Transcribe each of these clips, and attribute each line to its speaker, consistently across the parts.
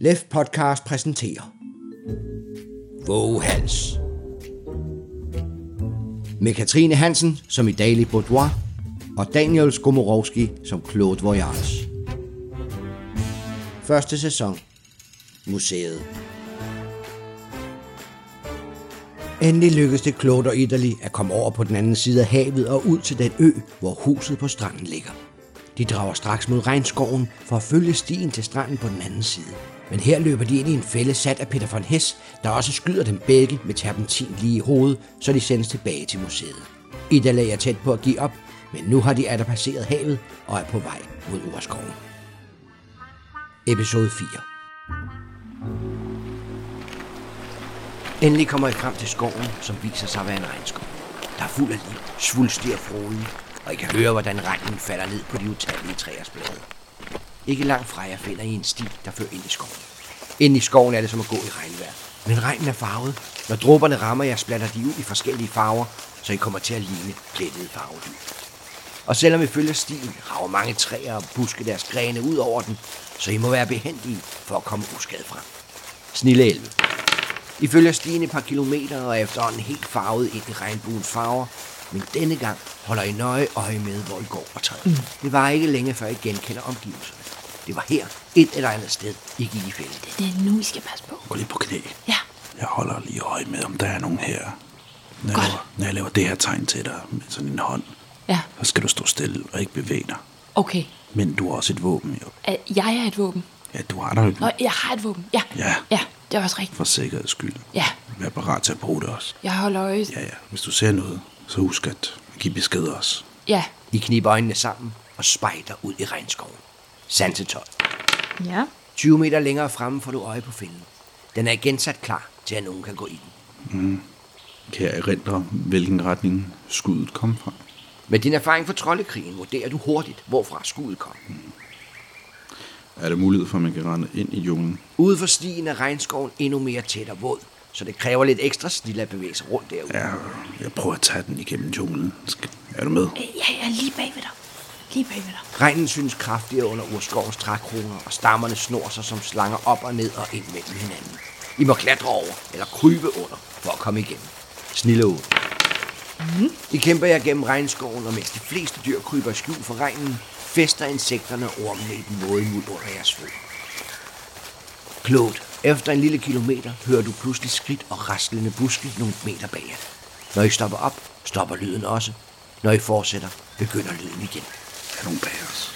Speaker 1: Lef Podcast præsenterer Våghals Med Katrine Hansen som i Daily Boudoir og Daniel Skomorowski som Claude Voyage. Første sæson Museet Endelig lykkedes det Claude og Italy at komme over på den anden side af havet og ud til den ø, hvor huset på stranden ligger. De drager straks mod regnskoven for at følge stien til stranden på den anden side. Men her løber de ind i en fælde sat af Peter von Hess, der også skyder dem begge med terpentin lige i hovedet, så de sendes tilbage til museet. Italy er tæt på at give op, men nu har de atter passeret havet og er på vej mod urskoven. Episode 4 Endelig kommer I frem til skoven, som viser sig at være en regnskov. Der er fuld af liv, svulstig og frodig, og I kan høre, hvordan regnen falder ned på de utallige træers blade. Ikke langt fra jer finder I en sti, der fører ind i skoven. Ind i skoven er det som at gå i regnvejr. Men regnen er farvet. Når dråberne rammer jer, splatter de ud i forskellige farver, så I kommer til at ligne plettede farvedyr. Og selvom vi følger stien, rager mange træer og buske deres grene ud over den, så I må være behendige for at komme uskadet frem. Snille 11. I følger stien et par kilometer og er efterhånden helt farvet ind i regnbuens farver, men denne gang holder I nøje øje med, hvor I går og træder. Mm. Det var ikke længe før I genkender omgivelserne. Det var her, et eller andet sted, I gik i fælde.
Speaker 2: Det er nu, I skal passe på.
Speaker 3: Gå lige på knæ.
Speaker 2: Ja,
Speaker 3: Jeg holder lige øje med, om der er nogen her. Når jeg,
Speaker 2: Godt.
Speaker 3: laver, når jeg laver det her tegn til dig med sådan en hånd,
Speaker 2: ja,
Speaker 3: så skal du stå stille og ikke bevæge dig.
Speaker 2: okay.
Speaker 3: Men du har også et våben, jo.
Speaker 2: Øh, Jeg er et våben.
Speaker 3: Ja, du har der et
Speaker 2: Nå, jeg har et våben. Ja,
Speaker 3: Ja.
Speaker 2: ja det er også rigtigt.
Speaker 3: for sikkerheds skyld.
Speaker 2: Ja,
Speaker 3: Vær parat til at bruge det også.
Speaker 2: jeg holder øje.
Speaker 3: Ja, ja. Hvis du ser noget, så husk at give besked også.
Speaker 2: Ja,
Speaker 1: I kniber øjnene sammen og spejder ud i regnskoven. Sansetøj.
Speaker 4: Ja.
Speaker 1: 20 meter længere fremme får du øje på fælden. Den er igen sat klar til, at nogen kan gå i den.
Speaker 3: Kan jeg erindre, hvilken retning skuddet kom fra?
Speaker 1: Med din erfaring fra troldekrigen vurderer du hurtigt, hvorfra skuddet kom.
Speaker 3: Er der mulighed for, at man kan rende ind i junglen?
Speaker 1: Ude for stien er regnskoven endnu mere tæt og våd, så det kræver lidt ekstra snille at bevæge sig rundt derude.
Speaker 3: Ja, jeg prøver at tage den igennem junglen. Skal- Er du med?
Speaker 2: Øh, ja, jeg er lige bagved dig. Lige bagved dig.
Speaker 1: Regnen synes kraftigere under urskovens trækroner, og stammerne snor sig som slanger op og ned og ind mellem hinanden. I må klatre over eller krybe under for at komme igennem. Snille ud. I kæmper jer gennem regnskoven, og mens de fleste dyr kryber i skjul for regnen, fester insekterne og ormene i den våde muld under jeres fødder. Klogt. Efter en lille kilometer hører du pludselig skridt og raslende buske nogle meter bag jer. Når I stopper op, stopper lyden også. Når I fortsætter, begynder lyden igen.
Speaker 3: Er der nogen bag os?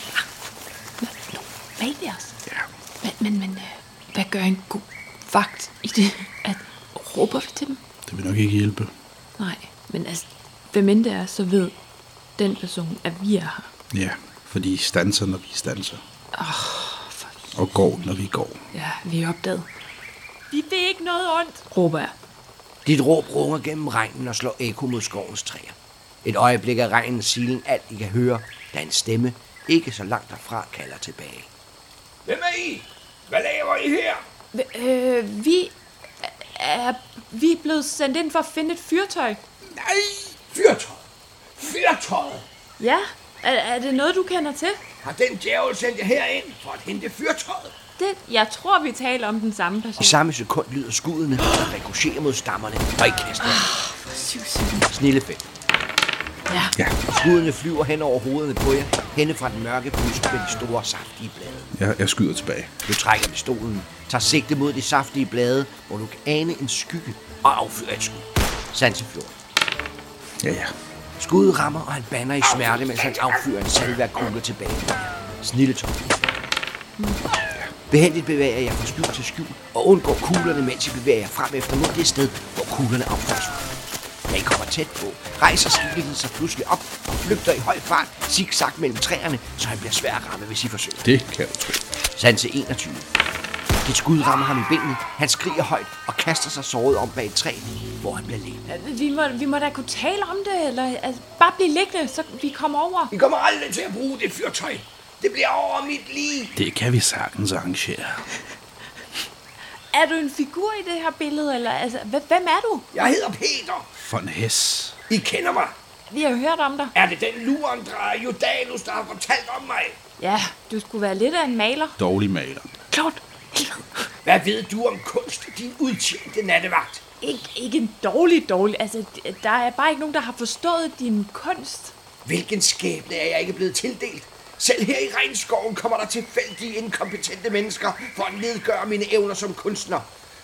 Speaker 2: Nå, nå, bagved os.
Speaker 3: Ja.
Speaker 2: Men, men, men øh, hvad gør en god vagt i det, at råber vi til dem?
Speaker 3: Det vil nok ikke hjælpe.
Speaker 2: Nej, men altså, hvem end det er, så ved den person, at vi er her.
Speaker 3: Ja, fordi I stanser, når vi stanser.
Speaker 2: Åh, for
Speaker 3: Og går, når vi går.
Speaker 2: Ja, vi er opdaget,
Speaker 4: Vi fik ikke noget ondt.
Speaker 2: råber jeg.
Speaker 1: Dit råb runger gennem regnen og slår ekko mod skovens træer. Et øjeblik af regnen silen alt, I kan høre, da en stemme ikke så langt derfra kalder tilbage.
Speaker 5: Hvem er I? Hvad laver I her?
Speaker 4: Øh, vi er, vi er blevet sendt ind for at finde et fyrtøj.
Speaker 5: Nej, fyrtøjet. Fyrtøjet.
Speaker 4: Ja, er, er det noget, du kender til?
Speaker 5: Har den djævel sendt jer herind for at hente fyrtøjet?
Speaker 4: Det, jeg tror, vi taler om den samme person.
Speaker 1: I samme sekund lyder skuddene, der rekrutterer mod stammerne, og I kaster dem.
Speaker 2: Syv, syv.
Speaker 1: Snille fem.
Speaker 2: Ja,
Speaker 3: Ja,
Speaker 1: Skuddene flyver hen over hovederne på jer, henne fra den mørke busk med de store, saftige blade.
Speaker 3: jeg, jeg skyder tilbage.
Speaker 1: Du trækker pistolen, tager sigte mod de saftige blade, hvor du kan ane en skygge og affyrer et skud. Sansefjord.
Speaker 3: Ja, ja.
Speaker 1: Skuddet rammer, og han banner i smerte, mens han affyrer en salve af kugler tilbage. Snilletop. Behendigt bevæger jeg fra skjul til skjul, og undgår kuglerne, mens I bevæger jer frem efter mod det sted, hvor kuglerne affyres fra. Da I kommer tæt på, rejser skikkelsen sig pludselig op og flygter i høj fart, zigzag mellem træerne, så han bliver svær at ramme, hvis I forsøger.
Speaker 3: Det kan du tro.
Speaker 1: Sanse 21. Dit skud rammer ham i benene, han skriger højt og kaster sig såret om bag et træ, hvor han bliver liggende.
Speaker 4: Øh, Vi må, vi må da kunne tale om det, eller altså, bare blive liggende, så vi kommer over.
Speaker 5: I kommer aldrig til at bruge det fyrtøj. Det bliver over mit liv.
Speaker 3: Det kan vi sagtens arrangere.
Speaker 4: Er du en figur i det her billede, eller altså, hv- hvem er du?
Speaker 5: Jeg hedder Peter.
Speaker 3: Von Hess.
Speaker 5: I kender mig.
Speaker 4: Vi har jo hørt om dig.
Speaker 5: Er det den lurendrejer Jodalus, der har fortalt om mig?
Speaker 4: Ja, du skulle være lidt af en maler.
Speaker 3: Dårlig maler.
Speaker 2: klart. Helvede.
Speaker 1: Hvad ved du om kunst, din udtjente nattevagt?
Speaker 4: Ikke, ikke en dårlig dårlig. Altså, d- der er bare ikke nogen, der har forstået din kunst.
Speaker 1: Hvilken skæbne er jeg ikke blevet tildelt? Selv her i regnskoven kommer der tilfældige inkompetente mennesker for at nedgøre mine evner som kunstner.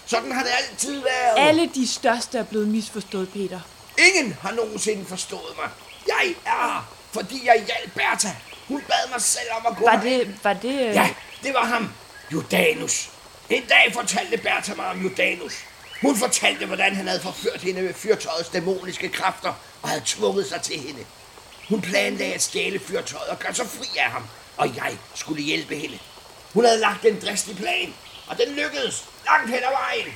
Speaker 1: Sådan har det altid været.
Speaker 4: Alle de største er blevet misforstået, Peter.
Speaker 1: Ingen har nogensinde forstået mig. Jeg er her, fordi jeg hjalp Bertha. Hun bad mig selv om at gå
Speaker 4: Var
Speaker 1: her.
Speaker 4: det... Var det øh,
Speaker 1: Ja, det var ham. Jordanus. En dag fortalte Bertha mig om Jordanus. Hun fortalte, hvordan han havde forført hende med fyrtøjets dæmoniske kræfter og havde tvunget sig til hende. Hun planlagde at stjæle fyrtøjet og gøre sig fri af ham, og jeg skulle hjælpe hende. Hun havde lagt en dristig plan, og den lykkedes langt hen ad vejen.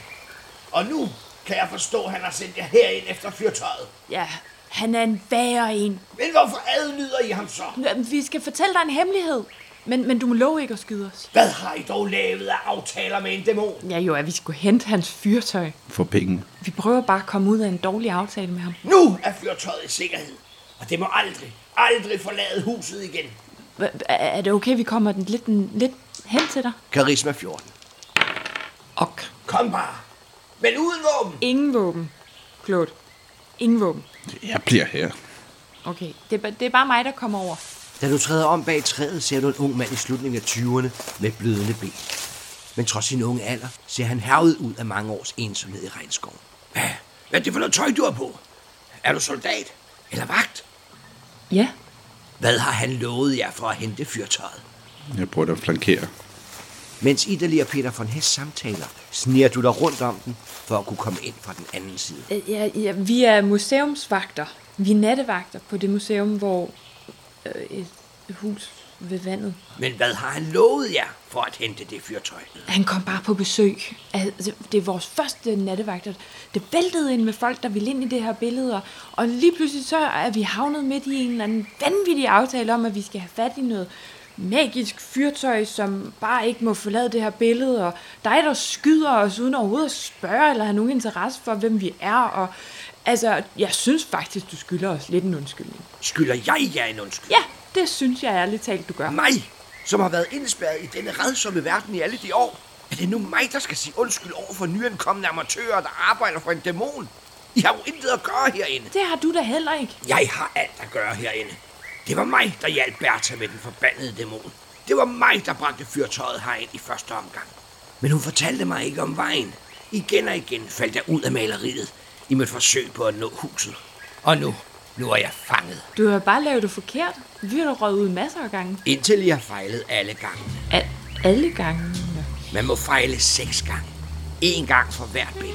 Speaker 1: Og nu kan jeg forstå, at han har sendt jer herind efter fyrtøjet.
Speaker 4: ja. Han er en værre en.
Speaker 1: Men hvorfor adlyder I ham så?
Speaker 4: Nå, Vi skal fortælle dig en hemmelighed. Men, men du må love ikke at skyde os.
Speaker 1: Hvad har I dog lavet af aftaler med en dæmon?
Speaker 2: Ja jo, at vi skulle hente hans fyrtøj.
Speaker 3: for penge.
Speaker 2: Vi prøver bare at komme ud af en dårlig aftale med ham.
Speaker 1: Nu er fyrtøjet i sikkerhed, og det må aldrig, aldrig forlade huset igen.
Speaker 2: Hva- hva- Er det okay, vi kommer den lidt, lidt hen til dig?
Speaker 6: Karisma 14.
Speaker 2: Ok.
Speaker 1: Kom bare, men uden våben.
Speaker 2: Ingen våben, Claude. Ingen våben.
Speaker 3: Jeg bliver her.
Speaker 2: Okay, det er, ba- det er bare mig, der kommer over.
Speaker 6: Da du træder om bag træet, ser du en ung mand i slutningen af 20'erne med blødende ben. Men trods sin unge alder, ser han hervet ud af mange års ensomhed i regnskoven.
Speaker 1: Hvad, hvad er det for noget tøj, du har på? Er du soldat? Eller vagt?
Speaker 2: Ja,
Speaker 6: Hvad har han lovet jer for at hente fyrtøjet?
Speaker 3: Jeg prøver at flankere.
Speaker 6: Mens Idali og Peter von Hess samtaler, sniger du dig rundt om den, for at kunne komme ind fra den anden side.
Speaker 2: Øh, ja, ja vi er museumsvagter. Vi er nattevagter på det museum, hvor øh, et hus ved vandet.
Speaker 1: Men hvad har han lovet jer for at hente det fyrtøj?
Speaker 2: Han kom bare på besøg. Altså, det er vores første nattevagter. Det væltede ind med folk, der ville ind i det her billede, og, og lige pludselig så er vi havnet midt i en eller anden vanvittig aftale om, at vi skal have fat i noget magisk fyrtøj, som bare ikke må forlade det her billede, og dig, der skyder os uden overhovedet at spørge eller have nogen interesse for, hvem vi er, og altså, jeg synes faktisk, du skylder os lidt en undskyldning.
Speaker 1: Skylder jeg jer en undskyld?
Speaker 2: Ja, det synes jeg ærligt talt, du gør.
Speaker 1: Mig, som har været indespærret i denne redsomme verden i alle de år. Er det nu mig, der skal sige undskyld over for nyankomne amatører, der arbejder for en dæmon? I har jo intet at gøre herinde.
Speaker 2: Det har du da heller ikke.
Speaker 1: Jeg har alt at gøre herinde. Det var mig, der hjalp Bertha med den forbandede dæmon. Det var mig, der bragte fyrtøjet herind i første omgang. Men hun fortalte mig ikke om vejen. Igen og igen faldt jeg ud af maleriet i mit forsøg på at nå huset. Og nu, nu er jeg fanget.
Speaker 2: Du har bare lavet det forkert. Vi har da røget ud masser af gange.
Speaker 1: Indtil jeg har fejlet alle gange.
Speaker 2: Al- alle gangene.
Speaker 1: Man må fejle seks gange. En gang for hvert billede.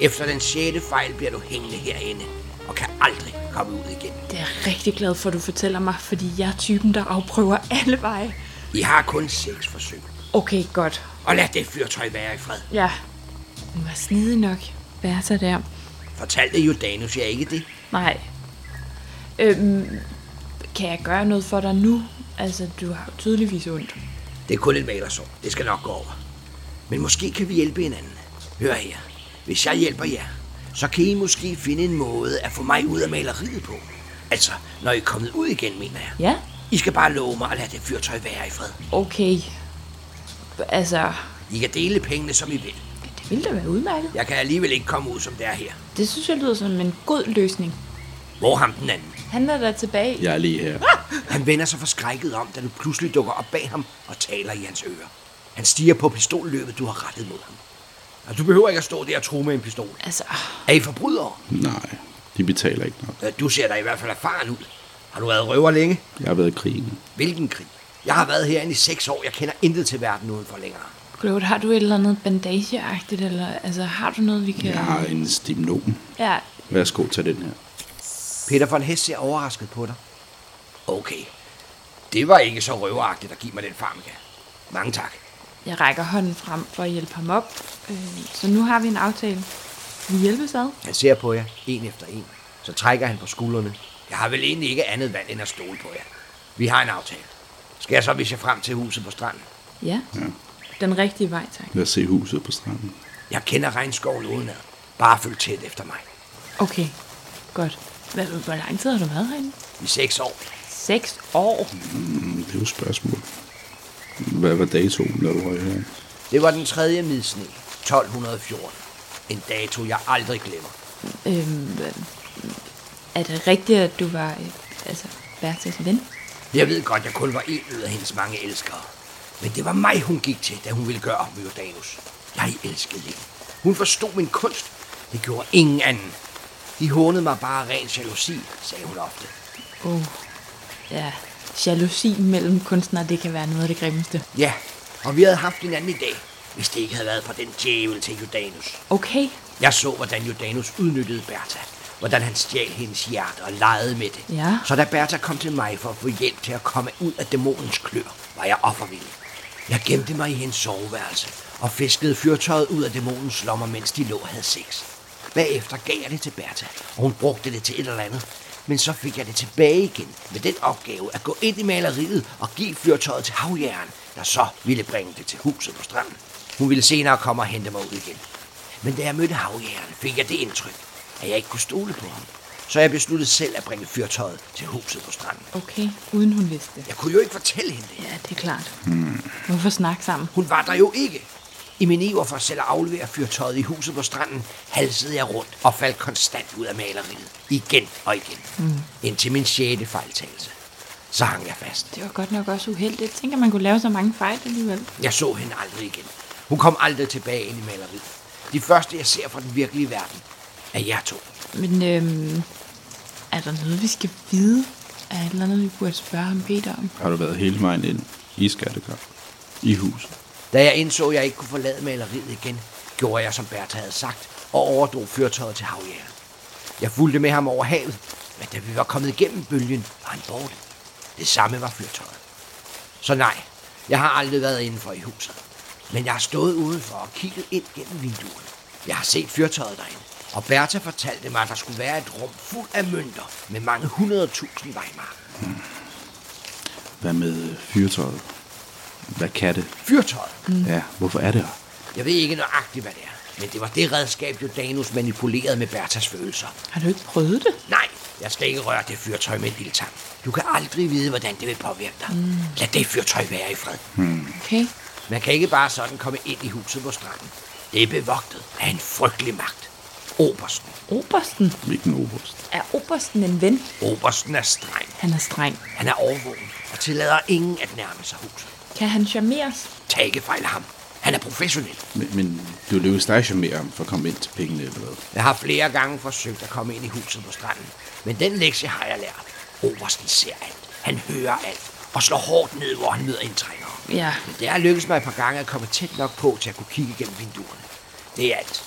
Speaker 1: Efter den sjette fejl bliver du hængende herinde og kan aldrig komme ud igen.
Speaker 2: Det er jeg rigtig glad for, at du fortæller mig, fordi jeg er typen, der afprøver alle veje.
Speaker 1: I har kun seks forsøg.
Speaker 2: Okay, godt.
Speaker 1: Og lad det fyrtøj være i fred.
Speaker 2: Ja. Hun var snedig nok. Bertha der.
Speaker 1: Fortalte Jordanus jer ikke det?
Speaker 2: Nej. Øhm, kan jeg gøre noget for dig nu? Altså, du har jo tydeligvis ondt.
Speaker 1: Det er kun et malersår. Det skal nok gå over. Men måske kan vi hjælpe hinanden. Hør her. Hvis jeg hjælper jer, så kan I måske finde en måde at få mig ud af maleriet på. Altså, når I er kommet ud igen, mener jeg.
Speaker 2: Ja?
Speaker 1: I skal bare love mig at lade det fyrtøj være i fred.
Speaker 2: Okay. Altså,
Speaker 1: I kan dele pengene, som I vil.
Speaker 2: det ville da være udmærket.
Speaker 1: Jeg kan alligevel ikke komme ud, som det er her.
Speaker 2: Det synes jeg lyder som en god løsning.
Speaker 1: Hvor er ham den anden?
Speaker 2: Han er da tilbage.
Speaker 3: Jeg er lige her.
Speaker 1: Han vender sig forskrækket om, da du pludselig dukker op bag ham og taler i hans ører. Han stiger på pistolløbet, du har rettet mod ham. Og Altså, du behøver ikke at stå der og tro med en pistol.
Speaker 2: Altså,
Speaker 1: Er I forbrydere?
Speaker 3: Nej, de betaler ikke nok.
Speaker 1: Øh, Du ser da i hvert fald erfaren ud. Har du været røver længe?
Speaker 3: Jeg har været i krigen.
Speaker 1: Hvilken krig? Jeg har været herinde i seks år. Jeg kender intet til verden udenfor længere.
Speaker 2: Claude, har du et eller andet bandageagtigt, eller altså, har du noget, vi kan...
Speaker 3: Jeg har en stimnon.
Speaker 2: ja
Speaker 3: Værsgo, tag den her.
Speaker 6: Peter von Hess ser overrasket på dig.
Speaker 1: Okay. Det var ikke så røveragtigt at give mig den farmika. Mange tak.
Speaker 2: Jeg rækker hånden frem for at hjælpe ham op. Øh, så nu har vi en aftale. Vi hjælpes ad.
Speaker 6: Han ser på jer, en efter en. Så trækker han på skuldrene.
Speaker 1: Jeg har vel egentlig ikke andet valg end at stole på jer. Vi har en aftale. Skal jeg så vise jer frem til huset på stranden?
Speaker 2: Ja.
Speaker 3: Ja.
Speaker 2: Den rigtige vej, tak.
Speaker 3: Lad os se huset på stranden.
Speaker 1: Jeg kender regnskoven udenad. Bare følg tæt efter mig.
Speaker 2: Okay, godt. Hvad, hvor lang tid har du været herinde?
Speaker 1: I seks år.
Speaker 2: Seks år.
Speaker 3: Mm, Det er jo et spørgsmål. Hvad var datoen, da du var her?
Speaker 1: Det var den tredje midsne, 1214. En dato, jeg aldrig glemmer.
Speaker 2: Øhm, øh, er det rigtigt, at du var øh, altså, Bertas ven?
Speaker 1: Jeg ved godt, jeg kun var en ud af hendes mange elskere. Men det var mig, hun gik til, da hun ville gøre op med Jordanus. Jeg elskede hende. Hun forstod min kunst. Det gjorde ingen anden. De hånede mig bare af ren jalousi, sagde hun ofte.
Speaker 2: Oh, ja. Jalousi mellem kunstnere, det kan være noget af det grimmeste.
Speaker 1: Ja, og vi havde haft hinanden i dag, hvis det ikke havde været for den djævel til Jordanus.
Speaker 2: Okay,
Speaker 1: Jeg så, hvordan Jordanus udnyttede Bertha. Hvordan han stjal hendes hjerte og legede med det.
Speaker 2: Ja.
Speaker 1: Så da Bertha kom til mig for at få hjælp til at komme ud af dæmonens klør, var jeg offervillig. Jeg gemte mig i hendes soveværelse og fiskede fyrtøjet ud af dæmonens lommer, mens de lå og havde sex. Bagefter gav jeg det til Bertha, og hun brugte det til et eller andet. Men så fik jeg det tilbage igen med den opgave at gå ind i maleriet og give fyrtøjet til havjæren, der så ville bringe det til huset på stranden. Hun ville senere komme og hente mig ud igen. Men da jeg mødte havjægeren, fik jeg det indtryk, at jeg ikke kunne stole på ham. Så jeg besluttede selv at bringe fyrtøjet til huset på stranden.
Speaker 2: okay. Uden hun vidste det.
Speaker 1: Jeg kunne jo ikke fortælle hende det.
Speaker 2: Ja, det er klart. Hmm. Hvorfor snakke sammen?
Speaker 1: Hun var der jo ikke. I min iver for selv at aflevere fyrtøjet i huset på stranden, halsede jeg rundt og faldt konstant ud af maleriet. Igen og igen. Mm. Indtil min sjette fejltagelse. Så hang jeg fast.
Speaker 2: Det var godt nok også uheldigt. Jeg tænker, man kunne lave så mange fejl alligevel.
Speaker 1: Jeg så hende aldrig igen. Hun kom aldrig tilbage ind i maleriet. De første, jeg ser fra den virkelige verden, er jer to.
Speaker 2: Men øhm, er der noget, vi skal vide? Er der et eller andet, vi burde spørge ham Peter om?
Speaker 3: Har du været hele vejen ind i skattekamp? I huset?
Speaker 1: Da jeg indså, at jeg ikke kunne forlade maleriet igen, gjorde jeg, som Bertha havde sagt, og overdrog fyrtøjet til havjæren. Jeg fulgte med ham over havet, men da vi var kommet igennem bølgen, var han borte. Det samme var fyrtøjet. Så nej, jeg har aldrig været indenfor i huset. Men jeg har stået udenfor og kigget ind gennem vinduerne. Jeg har set fyrtøjet derinde, og Bertha fortalte mig, at der skulle være et rum fuld af mønter med mange hundredtusind vejmarker.
Speaker 3: Hvad med fyrtøjet? Hvad kan det?
Speaker 1: Fyrtøjet!
Speaker 3: Mm. Ja, hvorfor er det her?
Speaker 1: Jeg ved ikke nøjagtigt, hvad det er, men det var det redskab, Jordanus manipulerede med Bertas følelser.
Speaker 2: Har du ikke prøvet det?
Speaker 1: Nej, jeg skal ikke røre det fyrtøj med en lille tang. Du kan aldrig vide, hvordan det vil påvirke dig. Mm. Lad det fyrtøj være i fred. Mm.
Speaker 2: Okay.
Speaker 1: Man kan ikke bare sådan komme ind i huset på stranden. Det er bevogtet af en frygtelig magt. Obersten.
Speaker 2: Obersten.
Speaker 3: Hvilken oberst?
Speaker 2: Er Obersten en ven?
Speaker 1: Obersten er streng.
Speaker 2: Han er streng.
Speaker 1: Han er overvågen og tillader ingen at nærme sig huset.
Speaker 2: Kan han charmeres?
Speaker 1: Tag ikke fejl af ham. Han er professionel.
Speaker 3: Men, men du lykkedes dig charmere om for at komme ind til pengene eller hvad?
Speaker 1: Jeg har flere gange forsøgt at komme ind i huset på stranden, men den lektie har jeg lært. Obersten ser alt, han hører alt, og slår hårdt ned, hvor han møder indtrængere.
Speaker 2: Ja.
Speaker 1: Men det har lykkedes mig et par gange at komme tæt nok på, til at kunne kigge gennem vinduerne. Det er alt.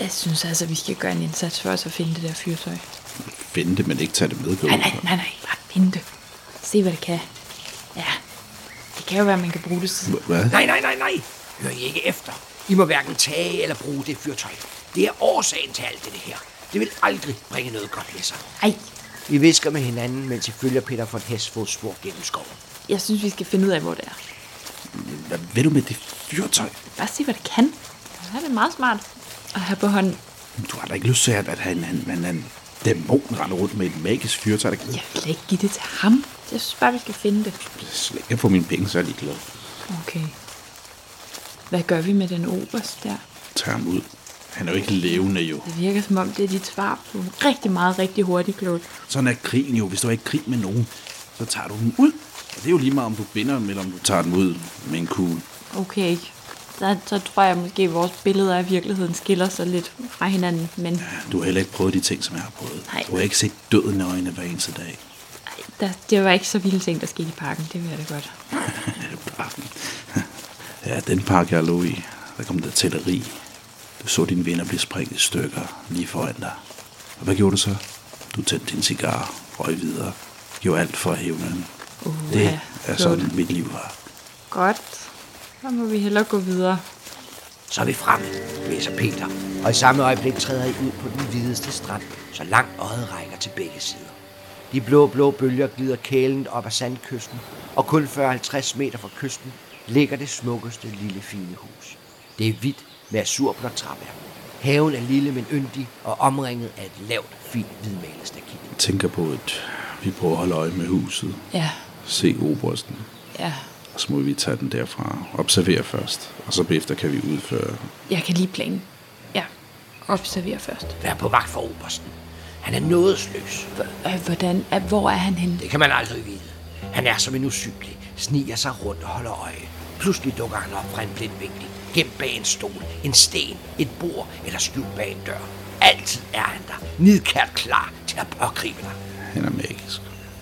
Speaker 2: Jeg synes altså, vi skal gøre en indsats for os at finde det der fyrtøj.
Speaker 3: Finde det, men ikke tage det med. gå ud
Speaker 2: Nej, nej,
Speaker 3: fra.
Speaker 2: nej, nej. Bare finde det. Se, hvad det kan. Ja. Det kan jo være, man kan bruge det til.
Speaker 3: Hva- Hvad?
Speaker 1: Nej, nej, nej, nej. Hør I ikke efter. I må hverken tage eller bruge det fyrtøj. Det er årsagen til alt det her. Det vil aldrig bringe noget godt med sig.
Speaker 2: Ej,
Speaker 1: Vi visker med hinanden, mens I følger Peter von Hesfods spor gennem skoven.
Speaker 2: jeg synes, vi skal finde ud af, hvor det er.
Speaker 3: Hvad vil du med det fyrtøj?
Speaker 2: Bare se, hvad det kan. Ja, det er meget smart at have på hånden.
Speaker 3: Du har da ikke lyst til, at, at han, han, han, han dæmon render rundt med et magisk fyrtøj, der kan
Speaker 2: Jeg vil da ikke give det til ham. Jeg synes bare, vi skal finde det.
Speaker 3: slække på mine penge, så er de glade.
Speaker 2: Okay. Hvad gør vi med den oberst der?
Speaker 3: Tag ham ud. Han er jo ikke levende jo.
Speaker 2: Det virker som om, det er dit svar på rigtig meget, rigtig hurtigt, Claude.
Speaker 3: Sådan er krigen jo. Hvis du er i krig med nogen, så tager du dem ud. Og det er jo lige meget, om du binder dem, eller om du tager dem ud med en kugle.
Speaker 2: Okay, så, så tror jeg måske, at vores billeder af virkeligheden skiller sig lidt fra hinanden. Men
Speaker 3: Du har heller ikke prøvet de ting, som jeg har prøvet.
Speaker 2: Nej.
Speaker 3: Du har ikke set døden i øjnene hver eneste dag.
Speaker 2: ej, der, det var ikke så vilde ting, der skete i parken. Det vil jeg da godt.
Speaker 3: Ja, den pakke, jeg lå i, der kom der tætteri. Du så dine venner blive sprængt i stykker lige foran dig. Og hvad gjorde du så? Du tændte din cigar, røg videre, gjorde alt for at hævne den.
Speaker 2: Uh,
Speaker 3: Det
Speaker 2: ja,
Speaker 3: er
Speaker 2: klogt.
Speaker 3: sådan, mit liv var.
Speaker 2: Godt. Så må vi hellere gå videre.
Speaker 1: Så er vi fremme, læser Peter, og i samme øjeblik træder I ud på den hvideste strand, så langt øjet rækker til begge sider. De blå, blå bølger glider kælen op ad sandkysten, og kun 40-50 meter fra kysten ligger det smukkeste lille fine hus. Det er hvidt med azurblåt træværk. Haven er lille, men yndig, og omringet af et lavt, fint hvidmalestakit.
Speaker 3: Jeg tænker på, at vi prøver at holde øje med huset.
Speaker 2: Ja,
Speaker 3: Se obersten.
Speaker 2: ja.
Speaker 3: og så må vi tage den derfra. Observere først, og så bagefter kan vi udføre...
Speaker 2: Jeg kan lige planen. Ja, observer først.
Speaker 1: Vær på vagt for obersten. Han er nådesløs.
Speaker 2: Øh, hvordan, øh, hvor er han henne?
Speaker 1: Det kan man aldrig vide. Han er som en usynlig, sniger sig rundt og holder øje. Pludselig dukker han op fra en blind vinkel, gemt bag en stol, en sten, et bord eller skjult bag en dør. Altid er han der, nidkært klar til at pågribe dig.
Speaker 3: Han er magisk.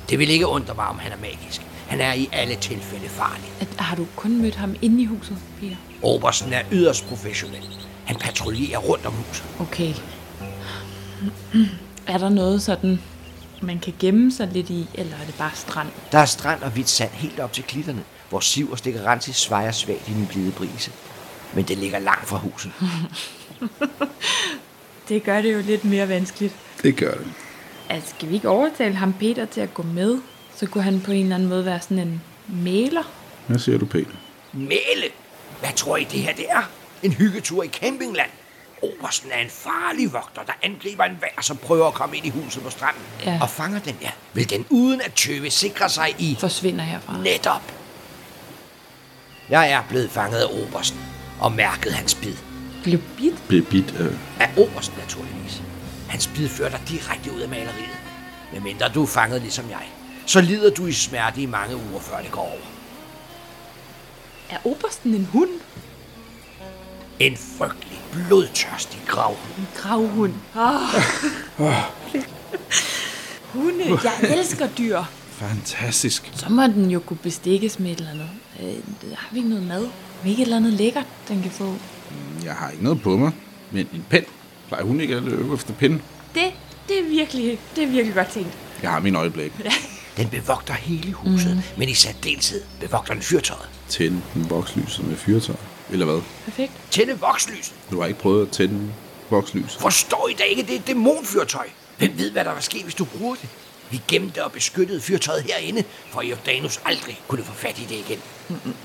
Speaker 1: Det vil ikke undre mig, om han er magisk. Han er i alle tilfælde farlig.
Speaker 2: Øh, Har du kun mødt ham inde i huset, Peter?
Speaker 1: Obersten er yderst professionel. Han patruljerer rundt om huset.
Speaker 2: Okay. Er der noget sådan, man kan gemme sig lidt i, eller er det bare strand?
Speaker 1: Der er strand og hvidt sand helt op til klitterne, hvor siv og stikker rens i svejer svagt i den blide brise. Men det ligger langt fra huset.
Speaker 2: Det gør det jo lidt mere vanskeligt.
Speaker 3: Det gør det.
Speaker 2: Altså, skal vi ikke overtale ham Peter til at gå med? Så kunne han på en eller anden måde være sådan en maler.
Speaker 3: Hvad siger du, Peter?
Speaker 1: Mæle! Hvad tror I, det her det er? En hyggetur i campingland? Obersten er en farlig vogter, der angriber en vær, som prøver at komme ind i huset på stranden.
Speaker 2: Ja.
Speaker 1: Og fanger den, ja. Vil den uden at tøve sikre sig i
Speaker 2: Forsvinder herfra.
Speaker 1: netop? Jeg er blevet fanget af Obersten og mærket hans bid.
Speaker 2: Blev bit?
Speaker 3: Bebit øh. af...
Speaker 1: Af Obersten naturligvis. Hans bid fører dig direkte ud af maleriet. Medmindre du er fanget ligesom jeg. Så lider du i smerte i mange uger, før det går over.
Speaker 2: Er obersten en hund?
Speaker 1: En frygtelig, blodtørstig grav.
Speaker 2: En gravhund. Oh. Hunde, jeg elsker dyr.
Speaker 3: Fantastisk.
Speaker 2: Så må den jo kunne bestikkes med et eller andet. Øh, har vi ikke noget mad? Har vi ikke et eller andet lækkert, den kan få?
Speaker 3: Jeg har ikke noget på mig, men en pen. Plejer hun ikke at løbe efter pinden?
Speaker 2: Det, det er virkelig, det er virkelig godt tænkt.
Speaker 3: Jeg har min øjeblik.
Speaker 1: Den bevogter hele huset, mm. men i særdeleshed bevogter den fyrtøjet.
Speaker 3: Tænde vokslyset med fyrtøj. Eller hvad?
Speaker 2: Perfekt.
Speaker 1: Tænde vokslyset.
Speaker 3: Du har ikke prøvet at tænde vokslyset?
Speaker 1: Forstår I da ikke, det er et dæmonfyrtøj? Hvem ved, hvad der vil ske, hvis du bruger det? Vi gemte og beskyttede fyrtøjet herinde, for Jordanus aldrig kunne få fat i det igen.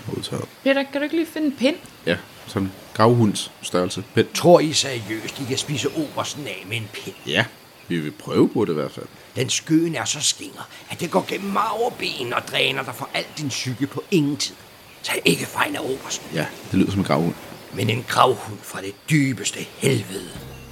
Speaker 3: Modtaget.
Speaker 2: Peter, kan du ikke lige finde en pind?
Speaker 3: Ja, sådan gravhunds størrelse. Pen.
Speaker 1: Tror I seriøst, I kan spise obersten af med en pind?
Speaker 3: Ja, vi vil prøve på det i hvert fald.
Speaker 1: Den skøen er så skinger, at det går gennem marv og ben og dræner dig for al din psyke på ingen tid. Tag ikke fejl af obersten,
Speaker 3: Ja, det lyder som en gravhund.
Speaker 1: men en gravhund fra det dybeste helvede.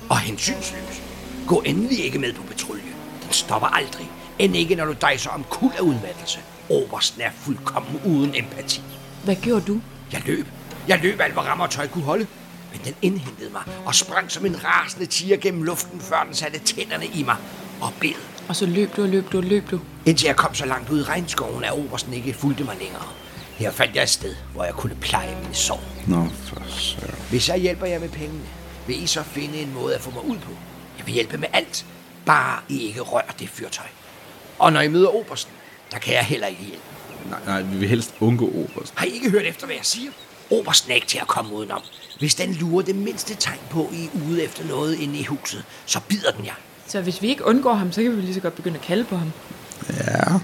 Speaker 1: Og hensynsløs. Gå endelig ikke med på patrulje. Den stopper aldrig. End ikke, når du dejser om kul af udmattelse. Obersten er fuldkommen uden empati.
Speaker 2: Hvad gjorde du?
Speaker 1: Jeg løb. Jeg løb alt, hvad rammer og tøj kunne holde. Men den indhentede mig og sprang som en rasende tiger gennem luften, før den satte tænderne i mig og bed.
Speaker 2: Og så løb du og løb du og løb du.
Speaker 1: Indtil jeg kom så langt ud i regnskoven, at obersten ikke fulgte mig længere. Her fandt jeg et sted, hvor jeg kunne pleje mine sår.
Speaker 3: Nå, for søren.
Speaker 1: Hvis jeg hjælper jer med pengene, vil I så finde en måde at få mig ud på. Jeg vil hjælpe med alt, bare I ikke rører det fyrtøj. Og når I møder Obersten, der kan jeg heller ikke hjælpe.
Speaker 3: Nej, nej, vi vil helst undgå oberst.
Speaker 1: Har I ikke hørt efter, hvad jeg siger? Obersten er ikke til at komme udenom. Hvis den lurer det mindste tegn på, at I er ude efter noget inde i huset, så bider den jer.
Speaker 2: Så hvis vi ikke undgår ham, så kan vi lige så godt begynde at kalde på ham.